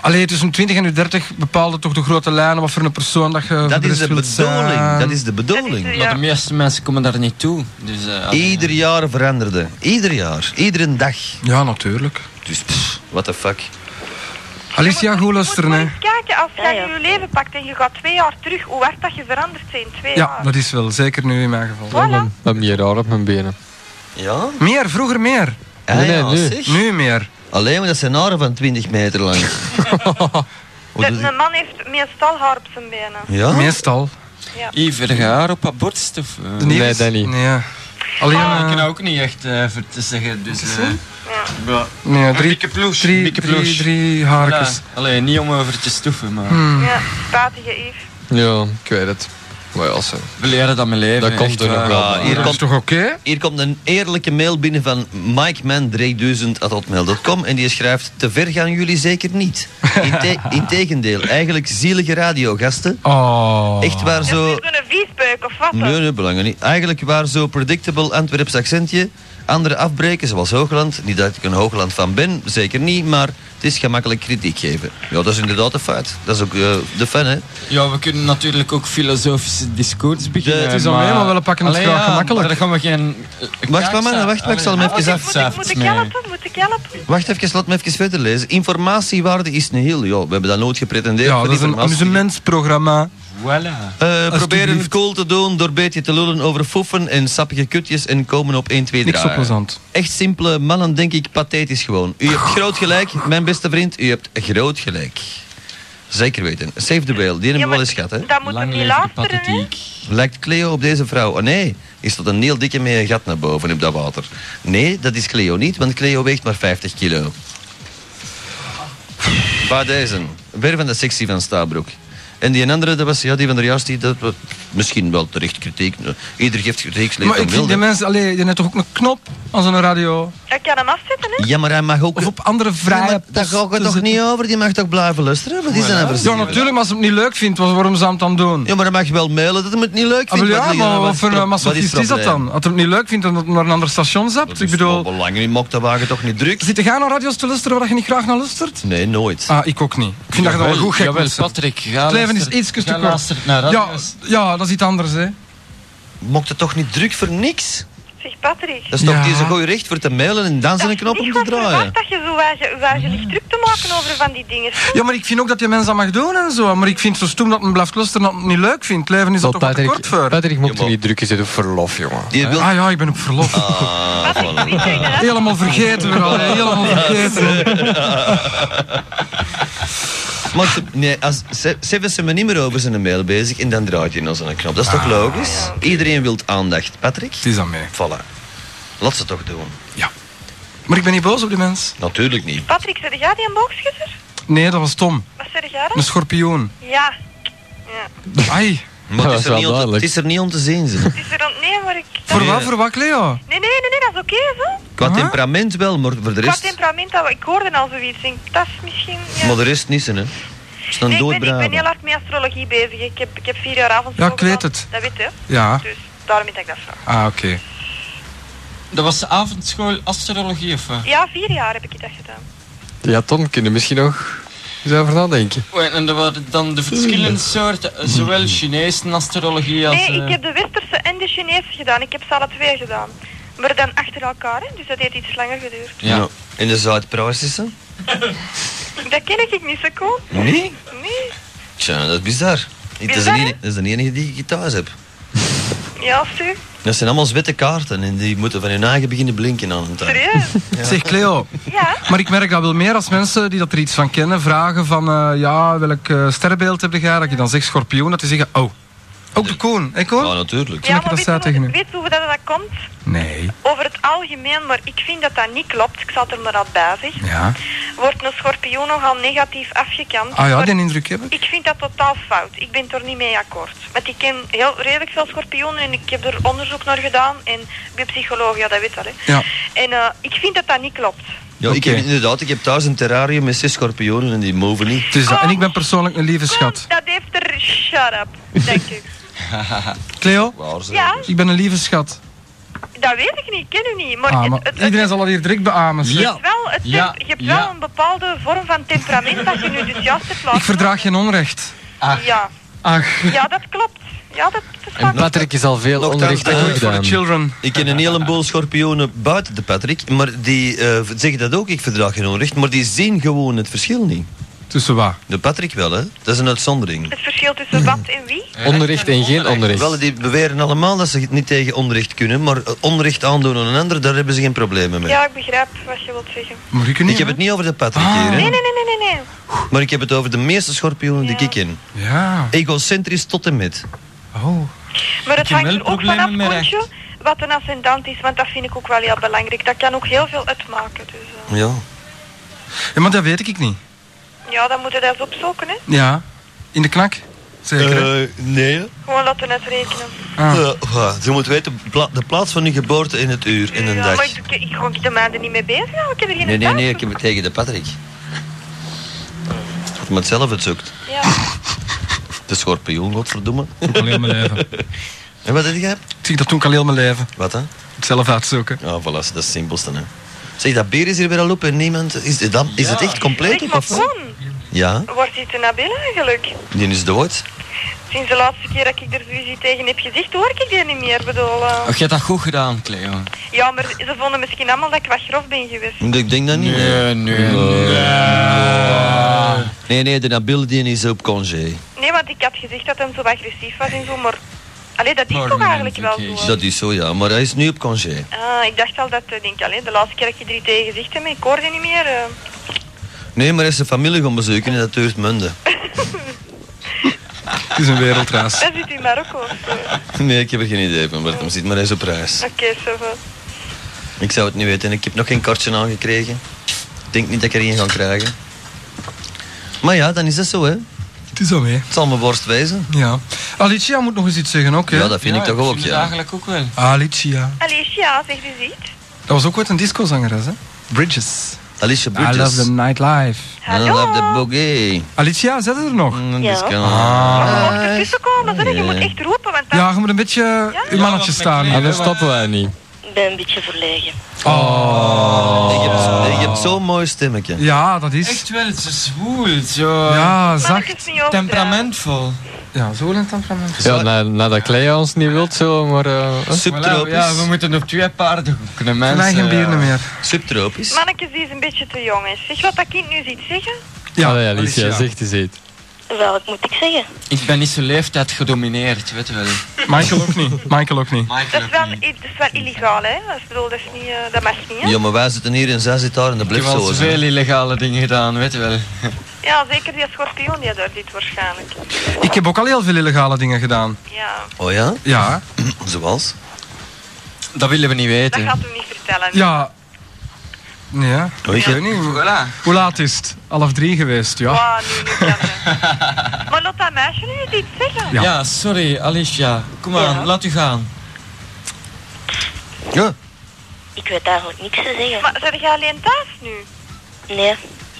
Speaker 4: Allee, tussen 20 en 30 bepaalde toch de grote lijnen wat voor een persoon dat je voor
Speaker 2: dat,
Speaker 4: de
Speaker 2: is
Speaker 4: rest
Speaker 2: de
Speaker 4: wilt
Speaker 2: bedoeling.
Speaker 4: zijn.
Speaker 2: Dat is de bedoeling.
Speaker 3: Ja.
Speaker 1: Maar de meeste mensen komen daar niet toe. Dus, eh, als-
Speaker 2: Ieder jaar veranderde. Ieder jaar. Iedere dag.
Speaker 4: Ja, natuurlijk.
Speaker 2: Dus, pff, what the fuck.
Speaker 4: Alicia, goed luisteren,
Speaker 3: moet
Speaker 4: hè.
Speaker 3: maar eens kijken, als jij
Speaker 6: ja.
Speaker 3: nu je leven pakt en je gaat twee jaar terug, hoe hard dat je veranderd bent in twee
Speaker 4: Ja,
Speaker 3: jaar.
Speaker 4: dat is wel. Zeker nu in mijn geval.
Speaker 3: Voilà.
Speaker 5: Dan heb je raar op mijn benen.
Speaker 2: Ja?
Speaker 4: Meer, vroeger meer.
Speaker 2: Ah,
Speaker 5: Nee,
Speaker 2: ja,
Speaker 5: nu.
Speaker 2: zeg.
Speaker 4: Nu meer.
Speaker 2: Alleen maar dat zijn haren van 20 meter lang. Hoe doet
Speaker 3: De,
Speaker 2: die-
Speaker 3: een man heeft meestal haar op zijn benen.
Speaker 2: ja?
Speaker 4: Meestal.
Speaker 1: Iver haar op haar borst of... eh,
Speaker 4: De nieuws-
Speaker 5: dat niet.
Speaker 4: Nee, ja. Alleen...
Speaker 1: Ja, ik
Speaker 4: eh,
Speaker 1: kan ook niet echt eh, voor te zeggen. Dus, eh, ja.
Speaker 4: nee,
Speaker 1: Een
Speaker 4: drie,
Speaker 1: dikke ploes.
Speaker 4: drie,
Speaker 1: dikke
Speaker 4: drie,
Speaker 1: ploes.
Speaker 4: drie
Speaker 1: Voilà.
Speaker 4: haarkes.
Speaker 1: Allee, niet om over te stoeven, maar
Speaker 4: Hmm.
Speaker 3: Ja, spijtige Yves.
Speaker 5: Ja, ik weet het. Maar ja, ze-
Speaker 1: we leren dat mijn leven.
Speaker 5: Dat komt
Speaker 1: echt
Speaker 5: er nog
Speaker 1: waar.
Speaker 5: wel.
Speaker 2: Ja, hier
Speaker 4: Dat is
Speaker 2: komt
Speaker 4: toch oké?
Speaker 2: Hier komt een eerlijke mail binnen van mikeman3000.hotmail.com en die schrijft, te ver gaan jullie zeker niet. Inte- Integendeel, eigenlijk zielige radiogasten.
Speaker 4: Oh.
Speaker 2: Echt waar
Speaker 3: Is
Speaker 2: zo...
Speaker 3: het nu een viespeuk of wat? dan?
Speaker 2: Nee, nee, belangrijk niet. Eigenlijk waar zo predictable Antwerps accentje. Andere afbreken, zoals Hoogland. Niet dat ik een Hoogland van ben, zeker niet, maar het is gemakkelijk kritiek geven. Ja, dat is inderdaad een feit. Dat is ook eh, de fan, hè.
Speaker 1: Ja, we kunnen natuurlijk ook filosofische discours beginnen.
Speaker 2: Ja, het
Speaker 4: is alleen maar wel een pakken het
Speaker 1: Allee,
Speaker 4: graag
Speaker 1: ja,
Speaker 4: gemakkelijk.
Speaker 1: Daar gaan we geen...
Speaker 2: Wacht, maar, maar, wacht, maar, ik zal hem
Speaker 3: Moet
Speaker 2: even
Speaker 3: ik, moet, ik, moet ik helpen? Moet ik helpen?
Speaker 2: Wacht even, laat me even verder lezen. Informatiewaarde is een heel... Ja, we hebben dat nooit gepretendeerd.
Speaker 4: Ja,
Speaker 2: voor
Speaker 4: dat is een
Speaker 2: informatie.
Speaker 4: amusementsprogramma.
Speaker 1: Voilà.
Speaker 2: Eh, proberen
Speaker 4: Alsjeblieft.
Speaker 2: cool te doen door beetje te lullen over foffen en sappige kutjes en komen op 1, 2, 3.
Speaker 4: Niks oplossend.
Speaker 2: Echt simpele mannen, denk ik, pathetisch gewoon. U hebt groot gelijk, mijn beste vriend, u hebt groot gelijk. Zeker weten. Save the whale, die hebben we wel eens gehad, hè?
Speaker 3: Dan moet ik
Speaker 1: Lang
Speaker 3: niet
Speaker 1: leven de
Speaker 3: luisteren, hè?
Speaker 1: pathetiek.
Speaker 2: Lijkt Cleo op deze vrouw? Oh nee, is dat een heel dikke met een gat naar boven op dat water? Nee, dat is Cleo niet, want Cleo weegt maar 50 kilo. Bij deze, weer van de sectie van Stabroek. En die andere, dat was, ja, die van de juist, die, dat, was misschien wel terecht kritiek. Ieder geeft kritiek,
Speaker 4: Maar
Speaker 2: leeft om
Speaker 4: ik vind
Speaker 2: wilde.
Speaker 4: die mensen, allee, die hebben toch ook een knop aan zo'n radio?
Speaker 3: Ik kan hem afzetten, hè?
Speaker 2: Ja, maar hij mag ook...
Speaker 4: Of op andere
Speaker 2: Nee, maar
Speaker 4: vrije
Speaker 2: daar
Speaker 4: posten
Speaker 2: gaat het toch
Speaker 4: zitten?
Speaker 2: niet over? Die mag toch blijven luisteren? Wat is dat nou voor
Speaker 4: Ja,
Speaker 2: zin?
Speaker 4: natuurlijk, maar als ze het niet leuk vindt, was- waarom zou het dan doen?
Speaker 2: Ja, maar hij mag wel mailen dat hij het niet leuk
Speaker 4: Ah,
Speaker 2: vindt.
Speaker 4: wel ja,
Speaker 2: Wat-
Speaker 4: maar
Speaker 2: wat
Speaker 4: wat voor
Speaker 2: pro-
Speaker 4: een
Speaker 2: wat
Speaker 4: masochist is dat
Speaker 2: probleem?
Speaker 4: dan? Als hij het niet leuk vindt, dan dat hij naar een ander station zapt.
Speaker 2: Dat
Speaker 4: Ik
Speaker 2: is
Speaker 4: bedoel,
Speaker 2: wel belangrijk, mocht dat wagen toch niet druk?
Speaker 4: zit jij naar radio's te luisteren waar je niet graag naar luistert?
Speaker 2: Nee, nooit.
Speaker 4: Ah, ik ook niet. Ik vind dat je dat wel goed gek
Speaker 1: Jawel,
Speaker 4: moet zijn.
Speaker 1: Patrick, ga
Speaker 4: Het leven is
Speaker 1: luisteren-
Speaker 4: iets te
Speaker 1: ga
Speaker 4: kort.
Speaker 1: luisteren naar
Speaker 4: Ja,
Speaker 1: radio's.
Speaker 4: ja, dat is iets anders, hè.
Speaker 2: Mocht het toch niet druk voor niks?
Speaker 3: Zeg Patrick.
Speaker 2: Dat is toch
Speaker 4: Ja.
Speaker 2: deze gooi recht voor te mailen en dan zijn een knop om te
Speaker 3: niet goed
Speaker 2: draaien.
Speaker 3: verwacht dat je zo weinig- weinig druk te maken over van die dingen.
Speaker 4: Ja, maar ik vind ook dat je mensen dat mag doen en zo. Maar ik vind het zo stoem dat men blijft luisteren dat men het niet leuk vindt. Het leven is dat
Speaker 5: Tot
Speaker 4: toch wel te
Speaker 5: Patrick,
Speaker 4: kort voor.
Speaker 5: Patrick mocht er
Speaker 2: Jawel.
Speaker 5: niet druk in zitten op verlof, jongen.
Speaker 2: Die wil...
Speaker 4: Ah ja, ik ben op verlof.
Speaker 2: Ah, voilà.
Speaker 4: Helemaal vergeten weer al, hè. helemaal vergeten.
Speaker 2: Maar ze- nee, als, ze, ze hebben ze me niet meer over zijn mail bezig en dan draait hij naar zijn knop. Dat is toch logisch? Iedereen wil aandacht. Patrick?
Speaker 4: Het is aan mij.
Speaker 2: Voilà. Laat ze toch doen.
Speaker 4: Maar ik ben niet boos op die mens.
Speaker 2: Natuurlijk niet.
Speaker 3: Patrick, zeg jij die een boogschutter?
Speaker 4: Nee, dat was Tom.
Speaker 3: Wat zeg jij
Speaker 4: Een
Speaker 2: Dus-
Speaker 3: dan?
Speaker 4: schorpioen.
Speaker 3: Ja,
Speaker 4: Ai,
Speaker 2: Maar
Speaker 5: dat
Speaker 2: het
Speaker 5: is
Speaker 2: is,
Speaker 5: wel
Speaker 2: er niet om te,
Speaker 5: duidelijk.
Speaker 2: het is er niet om te zien. Ze.
Speaker 3: het is er aan... Nee, maar ik...
Speaker 4: voor
Speaker 2: Nee.
Speaker 4: wat, voor wat, Cleo?
Speaker 3: Nee, nee, nee, nee, dat is oké, zo.
Speaker 2: Qua
Speaker 4: Huh?
Speaker 2: temperament wel, maar voor de
Speaker 3: Qua
Speaker 2: rest...
Speaker 3: temperament, dat, we- ik hoorde al zoiets. Ik denk, dat is misschien... Ja.
Speaker 2: Maar de rest niet, hè. Is een
Speaker 3: Nee, ik,
Speaker 2: dood
Speaker 3: ben, ik ben heel
Speaker 2: braven.
Speaker 3: hard met astrologie bezig. Ik heb, ik heb vier jaar avond.
Speaker 4: Ja, ik weet het.
Speaker 3: Dat weet je.
Speaker 2: Ah.
Speaker 4: Ja.
Speaker 3: Dus daarom heb ik dat vraag.
Speaker 4: Ah, oké.
Speaker 1: Dat was de avondschool astrologie of wat?
Speaker 3: Ja, vier jaar heb ik dat gedaan.
Speaker 5: Ja, Tom, kunnen misschien nog eens over nadenken.
Speaker 1: Oei, Oh, En er waren dan de verschillende soorten, eh, zowel Chinese astrologie als...
Speaker 3: Nee,
Speaker 1: eh,
Speaker 3: ik heb de Westerse en de Chinese gedaan. Ik heb ze alle twee gedaan. Maar dan achter elkaar, hè? dus dat heeft iets langer geduurd.
Speaker 1: Ja.
Speaker 2: Ja. En de Zuid-Pruisische?
Speaker 3: Dat ken ik niet zo goed.
Speaker 2: Nee?
Speaker 3: Nee.
Speaker 2: Tja, dat is bizar. Dat is, de
Speaker 3: Bizar, hè?
Speaker 2: enige, dat is de enige die ik thuis heb.
Speaker 3: Ja, Stu?
Speaker 2: Dat zijn allemaal witte kaarten en die moeten van hun eigen beginnen blinken aan het tijd.
Speaker 3: Serieus?
Speaker 4: Zeg Cleo,
Speaker 3: Ja.
Speaker 4: maar ik merk dat wel meer als mensen die dat er iets van kennen vragen van eh, ja, welk eh, sterrenbeeld heb jij? Dat je dan zegt schorpioen, dat die zeggen oh. Ook de koen, hè
Speaker 2: Ja,
Speaker 4: koen?
Speaker 2: natuurlijk.
Speaker 4: Toen
Speaker 3: Ja,
Speaker 4: ik
Speaker 3: maar
Speaker 4: dat
Speaker 3: weet,
Speaker 4: zei
Speaker 3: je
Speaker 4: tegen
Speaker 3: hoe,
Speaker 4: u.
Speaker 3: weet je hoe dat, dat komt?
Speaker 4: Nee.
Speaker 3: Over het algemeen, maar ik vind dat dat niet klopt. Ik zat er maar al bij, zeg.
Speaker 4: Ja.
Speaker 3: Wordt een schorpioen nogal negatief afgekant.
Speaker 4: Ah ja,
Speaker 3: maar
Speaker 4: die indruk heb ik.
Speaker 3: Ik vind dat totaal fout. Ik ben er niet mee akkoord. Want ik ken heel redelijk veel schorpioenen en ik heb er onderzoek naar gedaan. En ik ben psycholoog, ja, dat weet dat, hè.
Speaker 4: Ja.
Speaker 3: En eh, ik vind dat dat niet klopt.
Speaker 2: Ja, ik heb inderdaad, ik heb thuis een terrarium met zes schorpionen en die mogen niet.
Speaker 4: Dus dat- En ik ben persoonlijk een lieve schat.
Speaker 3: Kom, dat heeft er... Shut up, denk ik.
Speaker 4: Cleo,
Speaker 2: Waar ze?
Speaker 3: Ja,
Speaker 4: ik ben een lieve schat.
Speaker 3: dat weet ik niet. Ik ken u niet. Maar,
Speaker 4: Ah,
Speaker 3: het-
Speaker 4: maar
Speaker 3: het, het,
Speaker 4: iedereen zal dat hier direct beamen. zeg.
Speaker 1: Ja.
Speaker 3: wel, het tem-
Speaker 1: Ja,
Speaker 3: je hebt
Speaker 1: ja.
Speaker 3: wel een bepaalde vorm van temperament dat je nu dus juist hebt laten
Speaker 4: Ik verdraag geen onrecht.
Speaker 1: Ach.
Speaker 3: Ja,
Speaker 4: Ach,
Speaker 3: ja, dat klopt. Ja, dat, dat is waar.
Speaker 5: Patrick is al veel
Speaker 2: Nogthans,
Speaker 5: onrecht
Speaker 2: eh,
Speaker 5: aan
Speaker 4: voor de
Speaker 5: gedaan.
Speaker 4: children.
Speaker 2: Ik ken een heleboel schorpionen buiten de Patrick, maar die eh, zeggen dat ook, ik verdraag geen onrecht, maar die zien gewoon het verschil niet.
Speaker 4: Tussen wat?
Speaker 2: De Patrick wel, hè? Dat is een uitzondering.
Speaker 3: Het verschil tussen wat en wie.
Speaker 5: Onrecht en geen
Speaker 2: Wel,
Speaker 5: onrecht.
Speaker 2: die beweren allemaal dat ze het niet tegen onrecht kunnen, maar eh, onrecht aandoen aan een ander, daar hebben ze geen problemen mee.
Speaker 3: Ja, ik begrijp wat je wilt zeggen.
Speaker 4: Maar ik
Speaker 2: Ik heb het niet over de Patrick
Speaker 4: Ah.
Speaker 2: hier, hè?
Speaker 3: Nee, nee, nee, nee, nee. nee.
Speaker 2: maar ik heb het over de meeste schorpioenen die
Speaker 3: Ja.
Speaker 2: ik ken.
Speaker 4: Ja.
Speaker 2: Egocentrisch tot en met.
Speaker 4: Oh.
Speaker 3: Maar het
Speaker 1: Ik heb
Speaker 3: hangt
Speaker 1: wel
Speaker 3: er ook vanaf,
Speaker 1: problemen met
Speaker 3: Koentje, wat een ascendant is. Want dat vind ik ook wel heel belangrijk. Dat kan ook heel veel uitmaken. Dus, eh,
Speaker 2: Ja.
Speaker 4: Ja, maar dat weet ik niet.
Speaker 3: ja, dan moet je dat eens opzoeken, hè.
Speaker 4: Ja. In de knak? Zeker.
Speaker 2: Eh.
Speaker 4: hè?
Speaker 2: nee. Eh,
Speaker 3: Gewoon laten uitrekenen.
Speaker 4: Ah.
Speaker 2: je moet weten, pla- de plaats van uw geboorte in het uur, in een
Speaker 3: ja, maar
Speaker 2: dag.
Speaker 3: ik, ik ga de maanden niet mee bezig. houden. Ik heb er geen
Speaker 2: Nee, nee,
Speaker 3: tijd
Speaker 2: nee,
Speaker 3: voor.
Speaker 2: ik heb het tegen de Patrick. Maar het zelf het zoekt.
Speaker 3: Ja.
Speaker 2: De schorpioen, godverdomme.
Speaker 4: Alleen mijn leven.
Speaker 2: En wat heb jij?
Speaker 4: Ik zie dat toen ik al heel mijn leven.
Speaker 2: Wat dan?
Speaker 4: Het zelf uitzoeken.
Speaker 2: Ja, voilà, dat is het simpelste. Hè. Zeg, dat bier is hier weer al op en niemand... Is, het dan, is het echt compleet
Speaker 3: Zeg,
Speaker 2: op?
Speaker 3: maar
Speaker 2: Of? wat?
Speaker 3: Koen,
Speaker 2: Ja,
Speaker 3: wordt dit een binnen eigenlijk?
Speaker 2: die is dood.
Speaker 3: Sinds de laatste keer dat ik er ruzie tegen heb gezegd, hoor ik die niet meer. Bedoel, eh,
Speaker 1: Ach, je hebt dat goed gedaan, Cleo.
Speaker 3: ja, maar ze vonden misschien allemaal dat ik wat grof ben geweest.
Speaker 2: Ik denk dat niet. Nee,
Speaker 5: Nee, nee, nee.
Speaker 2: nee, de Nabil die is op congé.
Speaker 3: Nee, want ik had gezegd dat hem zo agressief was en zo, maar... Allee, dat is
Speaker 1: Maar
Speaker 3: toch
Speaker 1: nee,
Speaker 3: eigenlijk wel
Speaker 1: oké.
Speaker 3: zo. hè?
Speaker 2: Dat is zo, ja. Maar hij is nu op congé.
Speaker 3: Ah, ik dacht al dat, eh, denk ik, allee, de laatste keer dat je er iets tegen gezegd hebt, ik hoorde niet meer. eh.
Speaker 2: Nee, maar hij is zijn familie gaan bezoeken en dat duurt munden.
Speaker 4: Het is een wereldreis.
Speaker 3: Hij zit in Marokko. of zo. Oké,
Speaker 2: Nee, ik heb er geen idee van waar het om zit, maar hij is op reis.
Speaker 3: ça va.
Speaker 2: Ik zou het niet weten. Ik heb nog geen kartje aangekregen. Ik denk niet dat ik er één ga krijgen. Maar ja, dan is dat zo, hè.
Speaker 4: Het is al mee.
Speaker 2: Het zal mijn worst wezen.
Speaker 4: Ja. Alicia moet nog eens iets zeggen ook, hè?
Speaker 2: Ja, dat vind ik toch ook,
Speaker 1: het
Speaker 2: ja.
Speaker 1: eigenlijk ook wel.
Speaker 4: Alicia.
Speaker 3: Alicia, zeg eens iets.
Speaker 4: Dat was ook ooit een discozangeres, hè? Bridges.
Speaker 2: Alicia
Speaker 4: I love the
Speaker 2: Bridges.
Speaker 4: nightlife.
Speaker 2: En I
Speaker 3: Hallo.
Speaker 2: love the boogie.
Speaker 4: Alicia, zet het er nog?
Speaker 2: Mm,
Speaker 3: Ja.
Speaker 2: dus kan-
Speaker 4: Ah.
Speaker 3: Maar
Speaker 6: Ah.
Speaker 3: je mag ertussen komen, zeg. Je moet echt roepen, want dan...
Speaker 4: Ja, je moet een beetje je mannetje
Speaker 1: want met
Speaker 4: staan.
Speaker 1: kleren.
Speaker 5: En dan stoppen wij niet.
Speaker 6: Ik ben een beetje verlegen.
Speaker 2: Je hebt, je hebt zo'n mooi stemmetje.
Speaker 4: Ja, dat is.
Speaker 1: Echt wel, het is zwoel, zo.
Speaker 4: Ja,
Speaker 3: Maar het
Speaker 4: zacht.
Speaker 3: is niet overdreven.
Speaker 1: Temperamentvol.
Speaker 4: Ja, zo lent temperament.
Speaker 5: Ja, na- nadat Cleo ons niet wilt zo, maar... eh, eh.
Speaker 1: Voilà,
Speaker 2: Subtropisch.
Speaker 1: ja, we moeten nog twee paarden kunnen mensen.
Speaker 4: Wij geen bieren
Speaker 1: ja.
Speaker 4: meer.
Speaker 2: Subtropisch.
Speaker 3: Mannetjes, die is een beetje te jong, hè. Zeg wat dat kind nu ziet zeggen.
Speaker 4: Oh, Ja,
Speaker 5: Allee, Alicia,
Speaker 4: Alicia.
Speaker 5: zegt eens iets.
Speaker 6: Welk moet ik zeggen?
Speaker 1: Ik ben niet zo leeftijd gedomineerd, weet je wel.
Speaker 4: Michael ook niet. Michael ook niet.
Speaker 1: Michael
Speaker 3: Dat is wel,
Speaker 1: ook niet.
Speaker 3: dat is wel illegaal, hè. Dat is, bedoel, dat, is niet, eh, dat mag niet, hè.
Speaker 2: Ja, maar wij zitten hier en zij zit daar in de
Speaker 1: Ik heb al
Speaker 2: blipsoos.
Speaker 1: zoveel illegale dingen gedaan, weet je wel.
Speaker 3: Ja, zeker die schorpioen die daar zit waarschijnlijk.
Speaker 4: Ik heb ook al heel veel illegale dingen gedaan.
Speaker 3: Ja,
Speaker 2: Oh ja?
Speaker 4: Ja.
Speaker 2: Zoals?
Speaker 1: Dat willen we niet
Speaker 3: dat
Speaker 1: weten.
Speaker 3: gaat u niet vertellen.
Speaker 4: Ja. Ja.
Speaker 2: Oh,
Speaker 4: Ik weet niet.
Speaker 1: Voilà.
Speaker 4: Hoe laat is het? Half drie geweest, ja.
Speaker 3: Wauw, nu, nu kan het. Maar laat dat meisje nu eens iets zeggen.
Speaker 4: Ja.
Speaker 1: Ja. sorry, Alicia. Kom aan,
Speaker 6: Ja.
Speaker 1: laat u gaan.
Speaker 2: Ja.
Speaker 6: Ik weet eigenlijk niks te zeggen.
Speaker 3: Maar zijn jij alleen thuis nu?
Speaker 6: Nee,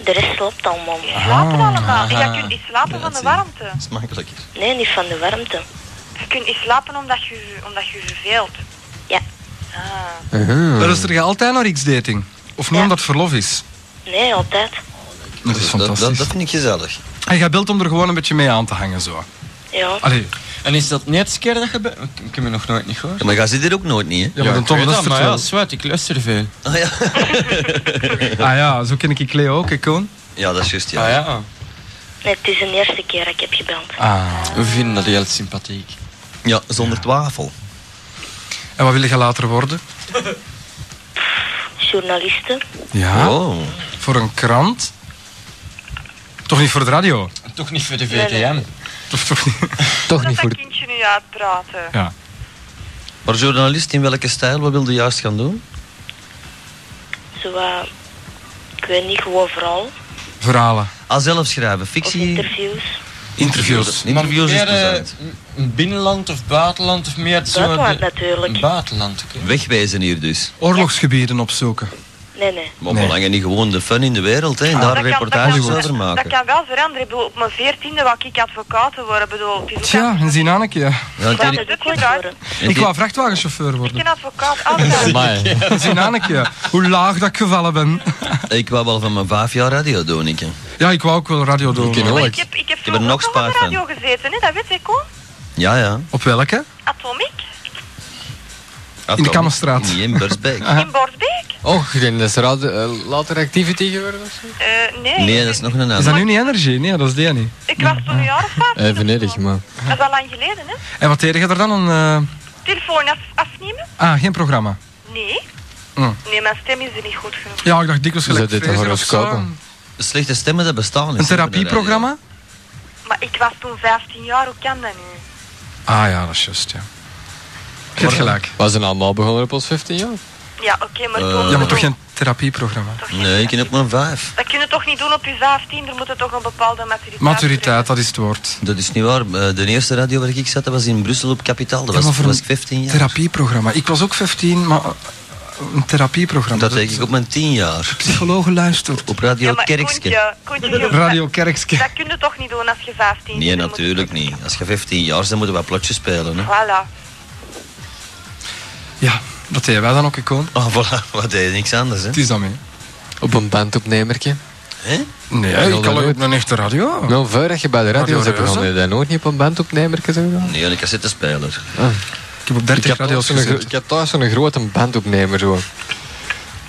Speaker 6: de rest loopt allemaal.
Speaker 3: Die
Speaker 4: Ah.
Speaker 3: slapen allemaal. En
Speaker 1: Aha.
Speaker 3: jij kunt niet slapen van de
Speaker 2: Ja, dat
Speaker 3: warmte.
Speaker 2: Dat is makkelijker.
Speaker 6: Nee, niet van de warmte.
Speaker 3: Je kunt niet slapen omdat je, omdat je verveelt.
Speaker 6: Ja.
Speaker 3: Ah.
Speaker 4: Luister je altijd naar X-dating? Of nu
Speaker 6: Ja.
Speaker 4: omdat het verlof is?
Speaker 6: Nee, altijd.
Speaker 4: Dat is
Speaker 2: Dat,
Speaker 4: fantastisch.
Speaker 2: dat vind ik gezellig.
Speaker 4: En jij belt om er gewoon een beetje mee aan te hangen, zo.
Speaker 6: Ja.
Speaker 4: Allee,
Speaker 1: En is dat de eerste keer dat je... be- Ik, ik heb je nog nooit niet gehoord.
Speaker 2: Ja, maar jij zit hier ook nooit niet, hè?
Speaker 4: ja, maar dan
Speaker 1: ik
Speaker 4: toch,
Speaker 1: weet
Speaker 4: dat is
Speaker 1: dat, maar ja,
Speaker 4: vertrouwd.
Speaker 1: zwart, ik luister veel.
Speaker 2: Ah ja.
Speaker 4: Ah ja, zo ken ik Cleo ook, hè, Koen?
Speaker 2: Ja, dat is juist, ja.
Speaker 1: Ah ja.
Speaker 6: Nee, het is de eerste keer dat ik heb gebeld.
Speaker 4: Ah.
Speaker 7: We vinden dat heel sympathiek.
Speaker 2: Ja, zonder twijfel.
Speaker 4: En wat wil je later worden?
Speaker 6: Journalisten.
Speaker 4: Ja.
Speaker 2: Oh.
Speaker 4: Voor een krant? Toch niet voor de radio?
Speaker 1: Toch niet voor de
Speaker 6: Nee, nee.
Speaker 1: VTM.
Speaker 4: Toch, toch niet?
Speaker 5: Toch
Speaker 3: Dat
Speaker 5: niet voor
Speaker 3: dat
Speaker 5: de...
Speaker 3: kindje nu uitpraten.
Speaker 4: Ja.
Speaker 2: Maar journalist, in welke stijl? Wat wilde je juist gaan doen?
Speaker 6: Zo, eh, ik weet niet, gewoon vooral.
Speaker 4: Verhalen.
Speaker 2: Ah, zelf schrijven.
Speaker 6: Of
Speaker 2: Fictie?
Speaker 6: interviews.
Speaker 4: Interviews.
Speaker 2: Interviews is
Speaker 1: meer, eh,
Speaker 2: plezant.
Speaker 1: m- binnenland of buitenland of meer zo...
Speaker 6: Buitenland
Speaker 1: de-
Speaker 6: natuurlijk.
Speaker 1: Buitenland, oké.
Speaker 4: eh,
Speaker 2: Wegwijzen hier dus.
Speaker 4: Oorlogsgebieden opzoeken.
Speaker 6: Nee, nee.
Speaker 2: Maar
Speaker 4: Nee. Ah.
Speaker 2: belangen niet gewoon de fun in de wereld, hè. En daar reportages over
Speaker 3: dat
Speaker 2: maken.
Speaker 3: kan wel veranderen. Ik bedoel, op mijn veertiende wou ik advocaat te worden. Ik Bedoel, het is ook
Speaker 4: Tja,
Speaker 3: aan-
Speaker 4: en zien Anneke, ja.
Speaker 2: Ja,
Speaker 6: Ik
Speaker 2: het
Speaker 6: wou
Speaker 2: ene-
Speaker 6: dat ook ooit worden.
Speaker 2: het
Speaker 4: Ik
Speaker 2: ene-
Speaker 4: wou vrachtwagenchauffeur
Speaker 3: Ik
Speaker 4: worden.
Speaker 3: ben advocaat altijd.
Speaker 7: Amai.
Speaker 4: Zien Anneke, ja. Hoe laag dat ik gevallen ben.
Speaker 2: ik wou wel van mijn vijf jaar radio doen, ik. hè.
Speaker 4: Ja, ik wou ook wel radio doen.
Speaker 5: ken
Speaker 4: hoor.
Speaker 5: ook.
Speaker 3: Maar
Speaker 5: Alex.
Speaker 3: ik heb, ik heb
Speaker 2: heb er
Speaker 3: vroeger
Speaker 2: nog
Speaker 3: ook nog op
Speaker 2: spaar
Speaker 3: de radio gezeten, hè? dat weet ik ook.
Speaker 2: Ja, ja.
Speaker 4: Op welke?
Speaker 3: Atomic,
Speaker 2: Ah,
Speaker 4: In de
Speaker 2: kom.
Speaker 4: Kammerstraat.
Speaker 2: Niet in Bersbeek.
Speaker 3: in Borsbeek.
Speaker 5: Och, ik denk dat is radio, eh, later activity geworden of zo.
Speaker 3: Eh, nee,
Speaker 2: Nee, dat is nog een
Speaker 4: Is dat
Speaker 2: ander.
Speaker 4: nu niet energie? Nee, dat is die niet.
Speaker 3: ik was toen een jaar of vijftien of
Speaker 5: Even nederig,
Speaker 3: zo.
Speaker 5: Eh, maar...
Speaker 3: Dat is al lang geleden, hè?
Speaker 4: En wat deed je er dan? Een, eh,
Speaker 3: Telefoon af, afnemen?
Speaker 4: Ah, geen programma.
Speaker 3: Nee.
Speaker 4: Hm.
Speaker 3: Nee, mijn stem is er niet goed genoeg.
Speaker 4: Ja, ik dacht dikwijls
Speaker 5: Is
Speaker 4: gelijk
Speaker 5: dat dit een
Speaker 4: Fraser of zo.
Speaker 5: horoscoop,
Speaker 2: Slechte stemmen, dat bestaan niet.
Speaker 4: Een
Speaker 2: hè, bij de
Speaker 4: therapieprogramma?
Speaker 3: Maar ik was toen 15 jaar, hoe kan dat nu?
Speaker 4: Ah ja, dat is juist, ja. Je hebt gelijk.
Speaker 2: Eh.
Speaker 5: We zijn allemaal begonnen op ons 15 jaar.
Speaker 3: Ja, oké, maar toen...
Speaker 4: Ja, maar toch geen therapieprogramma.
Speaker 3: toch
Speaker 2: radio.
Speaker 3: geen-
Speaker 2: Nee, ik heb ook maar vijf.
Speaker 3: Dat kun je toch niet doen op je 15, er moet er toch een bepaalde maturiteit...
Speaker 4: Maturiteit, dat is het woord.
Speaker 2: Dat is niet waar. Eh, De eerste radio waar ik zat, dat was in Brussel op Capitaal. Dat
Speaker 4: Ja,
Speaker 2: was,
Speaker 4: maar voor
Speaker 2: was
Speaker 4: een
Speaker 2: ik 15 jaar.
Speaker 4: Therapieprogramma. Ik was ook 15, maar eh, een therapieprogramma.
Speaker 2: Dat deed ik op mijn 10 jaar.
Speaker 4: Psycholoog luistert.
Speaker 2: Op Radio
Speaker 3: Ja, maar
Speaker 2: Kerkske.
Speaker 3: Koentje, Koentje, je-
Speaker 4: Radio Kerkske.
Speaker 3: Dat kun je toch niet doen als je 15 bent?
Speaker 2: Nee,
Speaker 3: dan moet je
Speaker 2: natuurlijk
Speaker 3: toch-
Speaker 2: niet. Als je 15 jaar bent, dan moeten we plotjes spelen. Hè.
Speaker 3: Voilà.
Speaker 4: Ja, dat deden wij dan ook, icoon.
Speaker 2: Oh, voilà. Wat deed je? Niks anders, hè?
Speaker 4: Het is dan mee.
Speaker 5: Op een bandopnemertje.
Speaker 2: Hè?
Speaker 4: Nee,
Speaker 5: Ja,
Speaker 4: ik
Speaker 5: dat
Speaker 4: kan ook
Speaker 5: nooit.
Speaker 4: op een echte radio.
Speaker 5: Nou, voordat je bij de radio
Speaker 4: Radio
Speaker 5: bent begonnen,
Speaker 4: Reuze?
Speaker 5: heb je dat nooit niet op een bandopnemertje zo gedaan?
Speaker 2: Nee, een cassettespeler.
Speaker 4: Ik heb op 30 radio's
Speaker 5: zo'n gro-
Speaker 4: gezet.
Speaker 5: ik had thuis zo'n grote bandopnemer zo.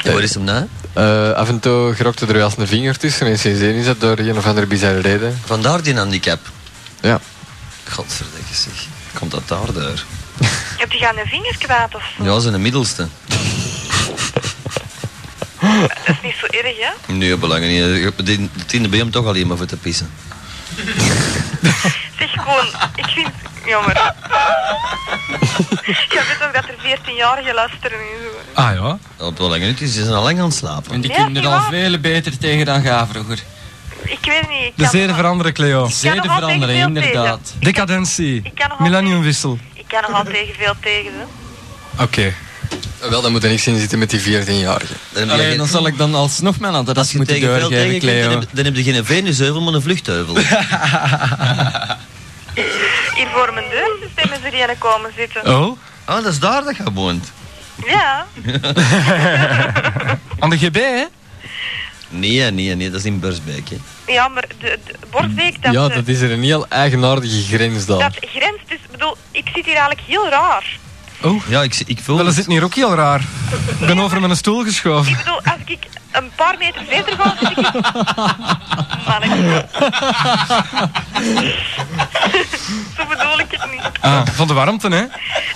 Speaker 2: En Waar is hem nou?
Speaker 5: Eh, af en toe grokte er wel eens een vinger tussen en sindsdien is dat door een of andere bizarre reden.
Speaker 2: Vandaar die handicap.
Speaker 5: Ja.
Speaker 2: Godverdikke zeg. Komt dat daardoor?
Speaker 3: Heb je gaan een vinger kwaad of zo?
Speaker 2: Ja, ze de middelste.
Speaker 3: Dat is niet zo erg, hè?
Speaker 2: Nee, belangen niet. Ik heb de tiende ben je hem toch alleen maar voor te pissen.
Speaker 3: Zeg gewoon, ik vind... Jammer. Je weet ook dat er 14-jarigen luisteren en zo.
Speaker 4: Ah ja.
Speaker 2: Op belangen niet, ze zijn al lang aan het slapen.
Speaker 7: En die
Speaker 3: Nee, dat
Speaker 7: kunnen
Speaker 3: is
Speaker 7: er
Speaker 3: niet
Speaker 7: al
Speaker 3: waar.
Speaker 7: veel beter tegen dan gaan vroeger.
Speaker 3: Ik weet niet, ik
Speaker 4: De
Speaker 3: kan...
Speaker 4: zeden veranderen, Cleo.
Speaker 3: Ik kan nog wel tegen
Speaker 7: veranderen,
Speaker 3: veel
Speaker 7: inderdaad.
Speaker 3: tegen. Ik kan-
Speaker 4: Decadentie.
Speaker 3: Ik kan nog wel
Speaker 4: Millenniumwissel.
Speaker 3: Ik kan nogal tegen veel tegen, hè?
Speaker 4: Oké.
Speaker 5: Eh, Wel, dan moet er niks in zitten met die 14-jarige.
Speaker 2: Dan heb je
Speaker 7: Alleen dan
Speaker 2: geen-
Speaker 7: zal ik dan alsnog mijn
Speaker 2: als
Speaker 7: adres
Speaker 2: je
Speaker 7: moeten
Speaker 2: tegen veel
Speaker 7: doorgeven,
Speaker 2: tegenkomt, dan
Speaker 7: Cleo.
Speaker 2: heb, dan heb je geen venusheuvel, maar een vluchtheuvel.
Speaker 3: Hier voor mijn deur stemmen ze die aan komen zitten.
Speaker 4: Oh?
Speaker 2: Ah, dat is daar dat je woont.
Speaker 3: Ja,
Speaker 4: Aan de GB, hè?
Speaker 2: Nee, nee, nee, dat is in Bursbeek. Hè.
Speaker 3: ja, maar de, de Borstbeek, dat,
Speaker 5: Ja,
Speaker 3: eh,
Speaker 5: dat is er een heel eigenaardige grens dan.
Speaker 3: dat grenst dus... bedoel, ik zit hier eigenlijk heel raar.
Speaker 2: Ja, ik, ik voel
Speaker 4: Wel, dat
Speaker 2: het.
Speaker 4: zit hier ook heel raar. Ik ben over mijn stoel
Speaker 3: Ik
Speaker 4: geschoven.
Speaker 3: bedoel, als ik een paar meter verder ga, zit ik... Mannetje. Zo bedoel ik het niet.
Speaker 4: Ah, van de warmte, hè?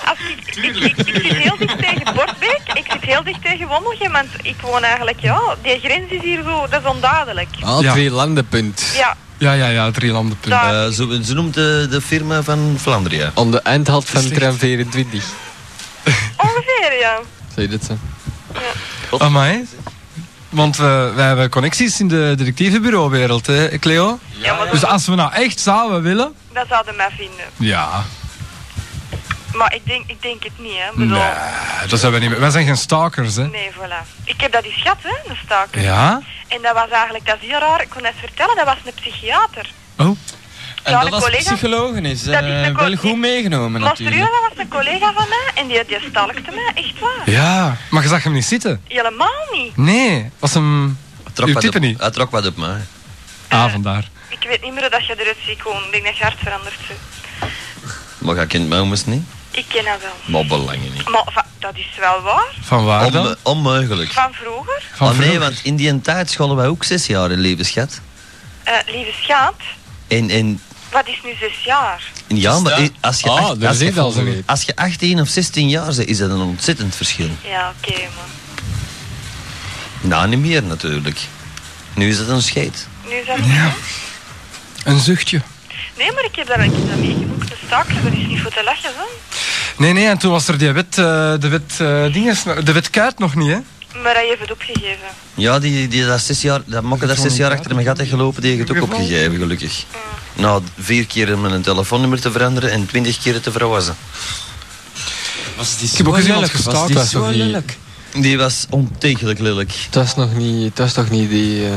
Speaker 3: Als ik, ik, ik, ik zit heel dicht tegen Bordbeek, ik zit heel dicht tegen Wommelgem, want ik woon eigenlijk, ja, die grens is hier zo, dat is onduidelijk.
Speaker 5: Ah,
Speaker 4: Ja.
Speaker 5: drie landenpunt.
Speaker 3: Ja,
Speaker 4: Ja, ja, ja, drie landenpunt.
Speaker 3: daar.
Speaker 2: Eh, zo, ze noemt de, de firma van Vlaanderen.
Speaker 5: Aan de eindhalt van
Speaker 4: Slecht.
Speaker 5: tram 24.
Speaker 3: ongeveer, ja.
Speaker 5: Zou je dat zo?
Speaker 4: Amai. Want eh, wij hebben connecties in de directievenbureauwereld, hè, Cleo?
Speaker 3: Ja, maar
Speaker 4: Dus
Speaker 3: dat,
Speaker 4: als we nou echt zouden willen...
Speaker 3: dat zouden mij vinden.
Speaker 4: Ja,
Speaker 3: Maar ik denk, ik denk het niet, hè. Ik Bedoel,
Speaker 4: nee, Eh, dat zijn we niet meer. Wij zijn geen stalkers, hè?
Speaker 3: Nee, voilà. Ik heb dat eens gehad, hè, een staker.
Speaker 4: Ja?
Speaker 3: En dat was eigenlijk, dat is heel raar, ik kon het vertellen, dat was een psychiater.
Speaker 4: Oh.
Speaker 7: En
Speaker 3: Ja, de
Speaker 7: dat als
Speaker 3: collega-
Speaker 7: psycholoog is
Speaker 3: Dat is
Speaker 7: eh,
Speaker 3: de co-
Speaker 7: wel goed meegenomen
Speaker 3: Maar serieus,
Speaker 7: natuurlijk.
Speaker 3: dat was een collega van mij en die, die stalkte mij, echt waar.
Speaker 4: Ja. Maar je zag hem niet zitten?
Speaker 3: Helemaal niet.
Speaker 4: Nee. Was hem... Uw
Speaker 2: wat
Speaker 4: type
Speaker 2: op,
Speaker 4: niet?
Speaker 2: Hij trok wat op mij.
Speaker 4: Ah, vandaar.
Speaker 3: Ik weet niet meer hoe dat je eruit ziet komen. Ik denk dat je hart verandert. hè.
Speaker 2: Maar jij kent mij immers niet.
Speaker 3: Ik ken dat wel.
Speaker 2: Maar belangen niet.
Speaker 3: Maar va- dat is wel waar.
Speaker 4: Van waar dan?
Speaker 2: Onme- onmogelijk.
Speaker 3: Van vroeger,
Speaker 4: Van
Speaker 2: Oh nee,
Speaker 4: vroeger.
Speaker 2: want in die tijd scholen wij ook zes jaar in leven, schat.
Speaker 3: eh, lieve schaat,
Speaker 2: En, en
Speaker 3: Wat is nu zes jaar?
Speaker 2: ja, maar i- als je,
Speaker 5: Ah,
Speaker 2: acht-
Speaker 5: daar
Speaker 2: als,
Speaker 5: zit al
Speaker 2: je,
Speaker 5: zoiets.
Speaker 2: als je 18 of 16 jaar bent, is dat een ontzettend verschil.
Speaker 3: Ja, oké, maar
Speaker 2: Nou, niet meer natuurlijk. Nu is het een scheet.
Speaker 3: nu is dat niet meer.
Speaker 4: Een zuchtje.
Speaker 3: Nee, maar ik heb daar, ik heb dat meegemaakt. De staak, dat is niet voor te lachen, hè.
Speaker 4: Nee, nee, en toen was er die wet, eh, de wet eh, dinges, de wet kaart nog niet, hè?
Speaker 3: Maar hij heeft het opgegeven.
Speaker 2: Ja, die, die, dat, zes jaar, dat mokken daar zes jaar achter mijn gat heeft gelopen, die heeft het ook opgegeven, gelukkig. Nou, vier keer mijn telefoonnummer te veranderen en twintig keer te verwassen.
Speaker 7: Was die
Speaker 5: Ik heb ook gezien dat
Speaker 7: lelijk,
Speaker 5: het
Speaker 7: was
Speaker 5: gestaakt
Speaker 7: die
Speaker 5: was,
Speaker 7: zo
Speaker 5: of niet?
Speaker 7: lelijk?
Speaker 2: Die was ontegelijk lelijk.
Speaker 5: Dat is nog niet, dat is toch niet die... eh,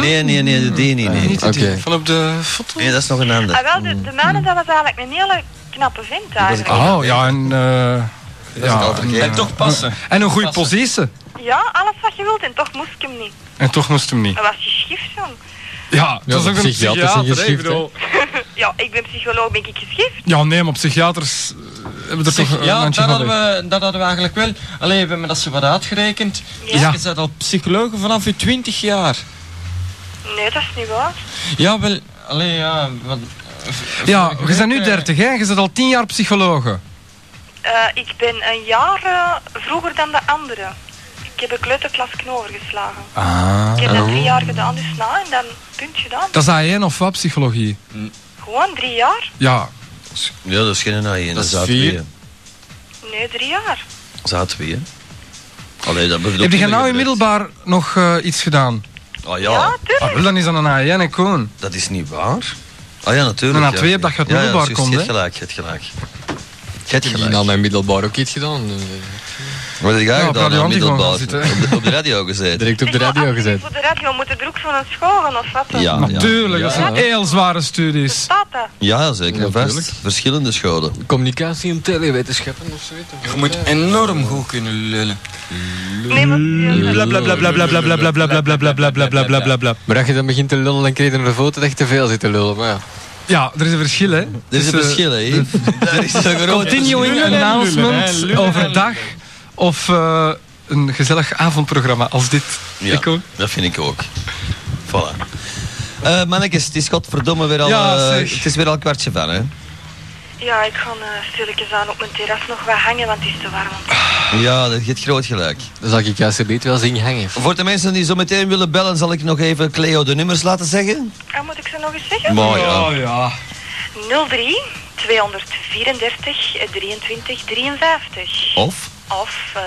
Speaker 2: Nee, nee, nee, die niet, nee.
Speaker 4: Niet die
Speaker 5: oké.
Speaker 4: van op de foto.
Speaker 2: Nee, dat is nog een ander.
Speaker 3: Ah, wel, de, de mannen, dat was eigenlijk een hele knappe vent eigenlijk.
Speaker 4: Oh, ja, en... eh
Speaker 2: het
Speaker 4: ja,
Speaker 2: altijd
Speaker 4: en, eh,
Speaker 2: keer.
Speaker 7: En toch passen.
Speaker 4: en een goede
Speaker 7: Passen.
Speaker 4: positie.
Speaker 3: Ja, alles wat je wilt en toch moest ik hem niet.
Speaker 4: En toch moest hem niet.
Speaker 3: Hij was geschift, jong.
Speaker 4: Ja, dat is
Speaker 5: maar
Speaker 4: ook een
Speaker 5: psychiaters
Speaker 4: psychiater,
Speaker 5: zijn
Speaker 4: hè, ik
Speaker 5: geschikt, hè.
Speaker 4: bedoel.
Speaker 3: Ja, ik ben psycholoog, ben ik geschift?
Speaker 4: Ja, nee, maar psychiaters eh, hebben er
Speaker 7: Zeg,
Speaker 4: toch een
Speaker 7: ja,
Speaker 4: handje
Speaker 7: dat
Speaker 4: van
Speaker 7: hadden,
Speaker 4: weg.
Speaker 7: we, dat hadden we eigenlijk wel. Alleen we hebben dat ze wat uitgerekend.
Speaker 3: Ja.
Speaker 4: Ja.
Speaker 7: Je bent al psycholoog vanaf je 20 jaar.
Speaker 3: Nee, dat is niet waar.
Speaker 7: Ja, wel. Allee, ja. Wat,
Speaker 4: Ja,
Speaker 7: vorige
Speaker 4: je bent nu
Speaker 7: week, eh,
Speaker 4: 30, hè? Je bent al 10 jaar psychologe.
Speaker 3: Eh, ik ben een jaar eh, vroeger dan de anderen. Ik heb een kleuterklas overgeslagen.
Speaker 4: Ah.
Speaker 3: Ik heb dat drie jaar gedaan, dus na en dan puntje gedaan.
Speaker 4: Dat is A1 of wat, psychologie?
Speaker 3: Gewoon drie jaar?
Speaker 4: Ja.
Speaker 2: Ja, dat is geen naai, dat
Speaker 5: Dat
Speaker 2: is
Speaker 5: is
Speaker 2: A2.
Speaker 5: vier.
Speaker 2: hè.
Speaker 3: Nee, drie jaar.
Speaker 2: Dat is A2, hè. Allee, dat bedoel
Speaker 4: Heb je
Speaker 2: ik
Speaker 4: nou in
Speaker 2: niet gebruikt.
Speaker 4: middelbaar nog eh, iets gedaan?
Speaker 2: Ah
Speaker 3: Ja,
Speaker 2: ja,
Speaker 3: tuurlijk.
Speaker 4: Ah, wel, dan is dat een A1, hè, Koen.
Speaker 2: dat is niet waar. Ah ja, natuurlijk.
Speaker 4: Een
Speaker 2: ja,
Speaker 4: A2 heb dat je uit middelbaar
Speaker 2: juist,
Speaker 4: komt,
Speaker 2: Je
Speaker 4: hè.
Speaker 2: hebt gelijk, je hebt gelijk. Je hebt
Speaker 5: Ik heb na
Speaker 2: gelijk.
Speaker 5: mijn middelbaar ook iets gedaan. dus, eh,
Speaker 2: Wat heb jij
Speaker 4: nou Ja, op
Speaker 2: gedaan
Speaker 4: Radio
Speaker 2: aan
Speaker 4: Antigo gaan
Speaker 2: middelbaar? Op
Speaker 4: zitten, hè.
Speaker 2: de, op de radio gezeten.
Speaker 5: direct op de
Speaker 3: Zeg, maar,
Speaker 5: radio
Speaker 3: als jullie
Speaker 5: gezet.
Speaker 3: Voor de radio moeten druk van een school of wat dan?
Speaker 2: Ah, Ja, ja.
Speaker 4: Natuurlijk, dat zijn heel zware studies.
Speaker 3: Bestaat dat?
Speaker 2: ja zeker.
Speaker 5: Ja,
Speaker 2: vast.
Speaker 5: tuurlijk.
Speaker 2: Verschillende scholen.
Speaker 5: Communicatie en telewetenschappen of zoiets. of
Speaker 7: Je moet
Speaker 5: wat, eh?
Speaker 7: enorm goed kunnen lullen.
Speaker 3: Nee, maar serieus, dat-
Speaker 4: Blablabla.
Speaker 5: Maar als je dan begint te lullen, dan krijg je een foto dat je te veel zit te lullen. Maar ja.
Speaker 4: Ja, er is een verschil, hè? Dus, eh,
Speaker 2: Er is een
Speaker 4: Tussen
Speaker 2: verschil, hè. Daar is een groot
Speaker 4: Continuing announcement overdag of eh, een gezellig avondprogramma als dit.
Speaker 2: Ja,
Speaker 4: Ik ook.
Speaker 2: dat vind ik ook. Voilà. Eh mannetjes, het is godverdomme weer al...
Speaker 4: Ja,
Speaker 2: eh,
Speaker 4: zeg.
Speaker 2: het is weer al kwartje van, hè.
Speaker 3: Ja, ik ga eh, stilletjes aan op mijn terras nog wat hangen, want het is te warm.
Speaker 2: Ja, dat geeft groot gelijk.
Speaker 5: Dan zal ik je alsjeblieft wel zien hangen.
Speaker 2: Voor de mensen die zo meteen willen bellen, zal ik nog even Cleo de nummers laten zeggen.
Speaker 3: En Ah, moet ik ze nog eens zeggen?
Speaker 2: Mooi, Oh, ja.
Speaker 4: Oh, ja.
Speaker 3: 03 234 23 53.
Speaker 2: Of
Speaker 3: Of eh,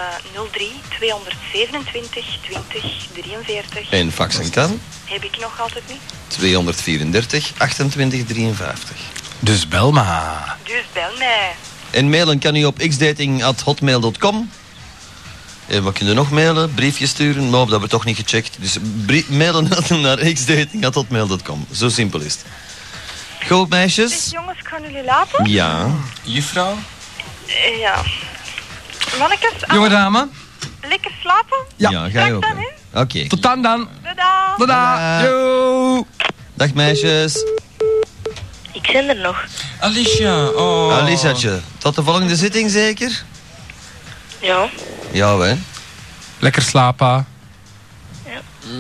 Speaker 3: 03 227 20 43.
Speaker 2: en fax en kan.
Speaker 3: Heb ik nog altijd niet.
Speaker 2: 234 28 53.
Speaker 4: Dus bel maar.
Speaker 3: Dus bel mij.
Speaker 2: En mailen kan u op xdating.hotmail.com. En wat kunnen nog mailen? Briefjes sturen? Nou, dat hebben we toch niet gecheckt. Dus brie- mailen naar xdating.hotmail.com. Zo simpel is het. Goed,
Speaker 3: Dus
Speaker 2: meisjes?
Speaker 3: jongens, ik ga jullie laten.
Speaker 2: Ja.
Speaker 7: Juffrouw?
Speaker 3: Eh, ja. Mannetjes,
Speaker 4: Jonge
Speaker 3: allemaal
Speaker 4: dame,
Speaker 3: lekker slapen.
Speaker 4: Ja.
Speaker 2: ga je
Speaker 3: Dag
Speaker 2: ook.
Speaker 3: dan,
Speaker 2: hè. Oké.
Speaker 4: tot dan dan.
Speaker 3: Tadaa.
Speaker 4: Tada. Yo.
Speaker 2: Dag, meisjes.
Speaker 6: Ik ben er nog.
Speaker 7: Alicia, oh.
Speaker 2: Aliciatje, tot de volgende zitting zeker?
Speaker 6: Ja.
Speaker 2: Ja, hè.
Speaker 4: Lekker slapen.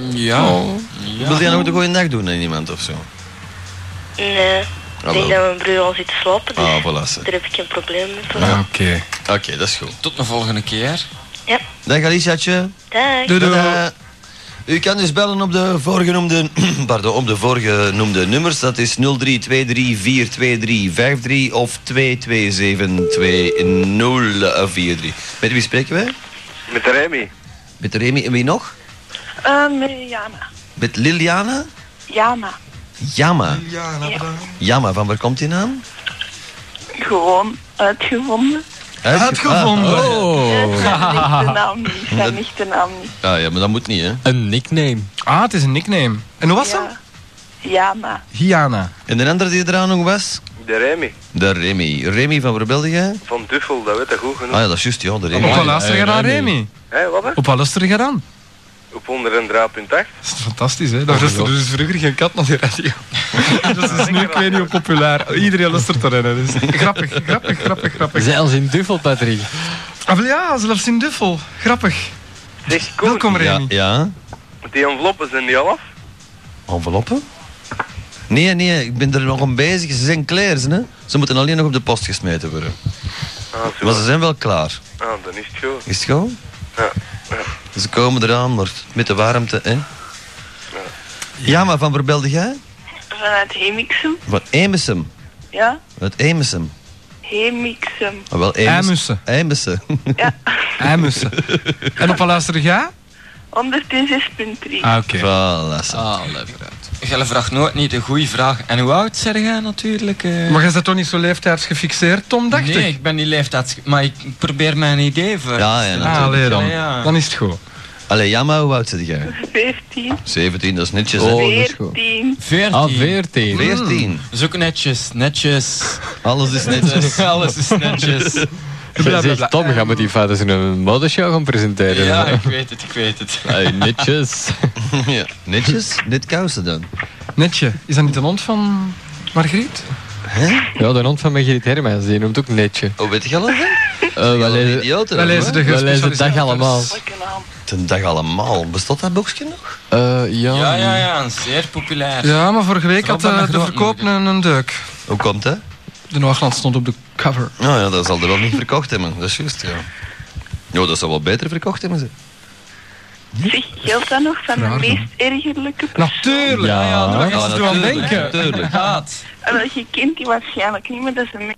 Speaker 7: Ja.
Speaker 1: Oh,
Speaker 7: Ja.
Speaker 2: Wil jij nog de goede dag doen aan iemand of zo?
Speaker 6: Nee. Ik denk dat mijn broer al zit te slapen, dus
Speaker 2: Ah, voilà. ze.
Speaker 6: daar heb ik geen probleem mee.
Speaker 4: Oké.
Speaker 2: Oké, dat is goed.
Speaker 7: Tot de volgende keer.
Speaker 2: Dag Aliciatje.
Speaker 6: Dag.
Speaker 4: Doei doei.
Speaker 2: Tada. U kan dus bellen op de voorgenoemde, pardon, op de voorgenoemde nummers. Dat is 0323423353 of 2272043. Met wie spreken wij?
Speaker 8: Met Remy.
Speaker 2: Met Remy en wie nog?
Speaker 3: Eh,
Speaker 9: Um, Jana.
Speaker 2: Met Liliana?
Speaker 9: Jana.
Speaker 2: Jama. Jama, van waar komt die naam?
Speaker 9: Gewoon uitgevonden.
Speaker 4: Uitgevonden.
Speaker 2: Ah, oh,
Speaker 9: Oh. Zijn echte naam niet. Zijn echte naam niet.
Speaker 2: ja. Ah, ja, maar dat moet niet, hè.
Speaker 5: Een nickname.
Speaker 4: Ah, het is een nickname. En hoe was
Speaker 9: Ja.
Speaker 4: dat?
Speaker 9: Jana.
Speaker 4: Hiana.
Speaker 2: En de andere die eraan nog was?
Speaker 8: De Remy.
Speaker 2: De Remy. Remy, van waar belde jij?
Speaker 8: Van Duffel, dat weet dat goed genoeg.
Speaker 2: Ah ja, dat is juist, ja, de
Speaker 4: Op
Speaker 2: Remy.
Speaker 4: wat luister je dan, Remy?
Speaker 8: Hé, wat hè?
Speaker 4: Op wat luister je dan?
Speaker 8: Op onder een draap in tacht.
Speaker 4: Dat is fantastisch, hè? Daar rustte er dus vroeger geen kat naar die radio. dat is nu, ik weet niet hoe populair. Iedereen luistert erin, hè. Dus grappig, grappig, grappig, grappig.
Speaker 5: Zelfs in Duffel, Patrick.
Speaker 4: Ah, wel ja, zelfs in Duffel. Grappig.
Speaker 8: Zeg, Koen,
Speaker 4: Welkom,
Speaker 2: Ja,
Speaker 4: Remy.
Speaker 2: ja.
Speaker 8: die enveloppen zijn niet al af?
Speaker 2: Enveloppen? Nee, nee, ik ben er nog aan bezig. Ze zijn klaar, ze, hè. Ze moeten alleen nog op de post gesmeten worden.
Speaker 8: Ah, zo.
Speaker 2: Maar ze zijn wel klaar.
Speaker 8: Ah, dan is het goed.
Speaker 2: Is het gewoon?
Speaker 8: Ja.
Speaker 2: Ze komen eraan, maar met de warmte, hè? Ja, maar van waar belde jij?
Speaker 3: Vanuit Hemiksem.
Speaker 2: Van Emissum.
Speaker 3: Ja,
Speaker 2: Uit Emissum.
Speaker 3: Hemiksem.
Speaker 2: Ah, wel
Speaker 4: Emussen.
Speaker 2: Emussen.
Speaker 4: Eimussen. en op wat luister jij?
Speaker 3: 106.3.
Speaker 4: Ah, oké.
Speaker 2: Voilà. zo.
Speaker 1: Alle vraagt. Jij vraagt nooit niet een goede vraag. En hoe oud zeg jij natuurlijk? eh?
Speaker 4: Maar jij bent toch niet zo leeftijdsgefixeerd, Tom, dacht
Speaker 1: nee,
Speaker 4: ik?
Speaker 1: ik ben niet leeftijds... Maar ik probeer mijn idee voor
Speaker 2: Ja, ja,
Speaker 4: Ah,
Speaker 2: natuurlijk.
Speaker 4: allee dan.
Speaker 1: Ja, ja.
Speaker 4: Dan is het goed.
Speaker 2: Allee, ja, maar hoe oud zit jij?
Speaker 3: 14.
Speaker 2: 17, dat is netjes, hè?
Speaker 5: Oh, dat is goed.
Speaker 3: 14.
Speaker 1: 14.
Speaker 5: Ah, 14.
Speaker 2: 14.
Speaker 1: Is ook netjes, netjes.
Speaker 2: Alles is netjes.
Speaker 1: Dus alles is netjes.
Speaker 5: Zeg, Tom, gaan we die vaders in een modeshow gaan presenteren?
Speaker 1: Ja, ik weet het, ik weet het.
Speaker 5: Hey, netjes.
Speaker 2: ja. Netjes? Net kousen dan.
Speaker 4: Netje, is dat niet een hond van Margriet?
Speaker 5: Ja, de hond van Margriet Hermans, die noemt ook netje.
Speaker 2: Oh, weet je al dat?
Speaker 5: Eh wij
Speaker 2: Wel een
Speaker 5: lezen,
Speaker 2: idioot, hè,
Speaker 4: Wij lezen
Speaker 2: hoor.
Speaker 4: de
Speaker 5: wij lezen dag allemaal.
Speaker 3: Welke naam?
Speaker 2: Ten dag allemaal. Bestond dat boekje nog?
Speaker 5: Eh, ja,
Speaker 1: Ja, ja, ja, een zeer populair.
Speaker 4: Ja, maar vorige week had
Speaker 1: Rob en
Speaker 4: eh, de
Speaker 1: Margriet
Speaker 4: verkoop een, een deuk.
Speaker 2: Hoe komt dat?
Speaker 4: De Noordland stond op de cover.
Speaker 2: Nou ja, dat zal er wel niet verkocht hebben. Dat is juist, ja. Nou, dat zal wel beter verkocht hebben, ze.
Speaker 3: Zeg, geldt dat nog van de
Speaker 4: Raar,
Speaker 3: meest ergerlijke
Speaker 4: Natuurlijk! Ah
Speaker 5: Ja,
Speaker 1: daar
Speaker 2: Ja,
Speaker 1: is het wel aan
Speaker 2: natuurlijk,
Speaker 1: denken.
Speaker 2: natuurlijk.
Speaker 1: Gaat.
Speaker 3: persoon? Je kent die waarschijnlijk niet, maar dat is een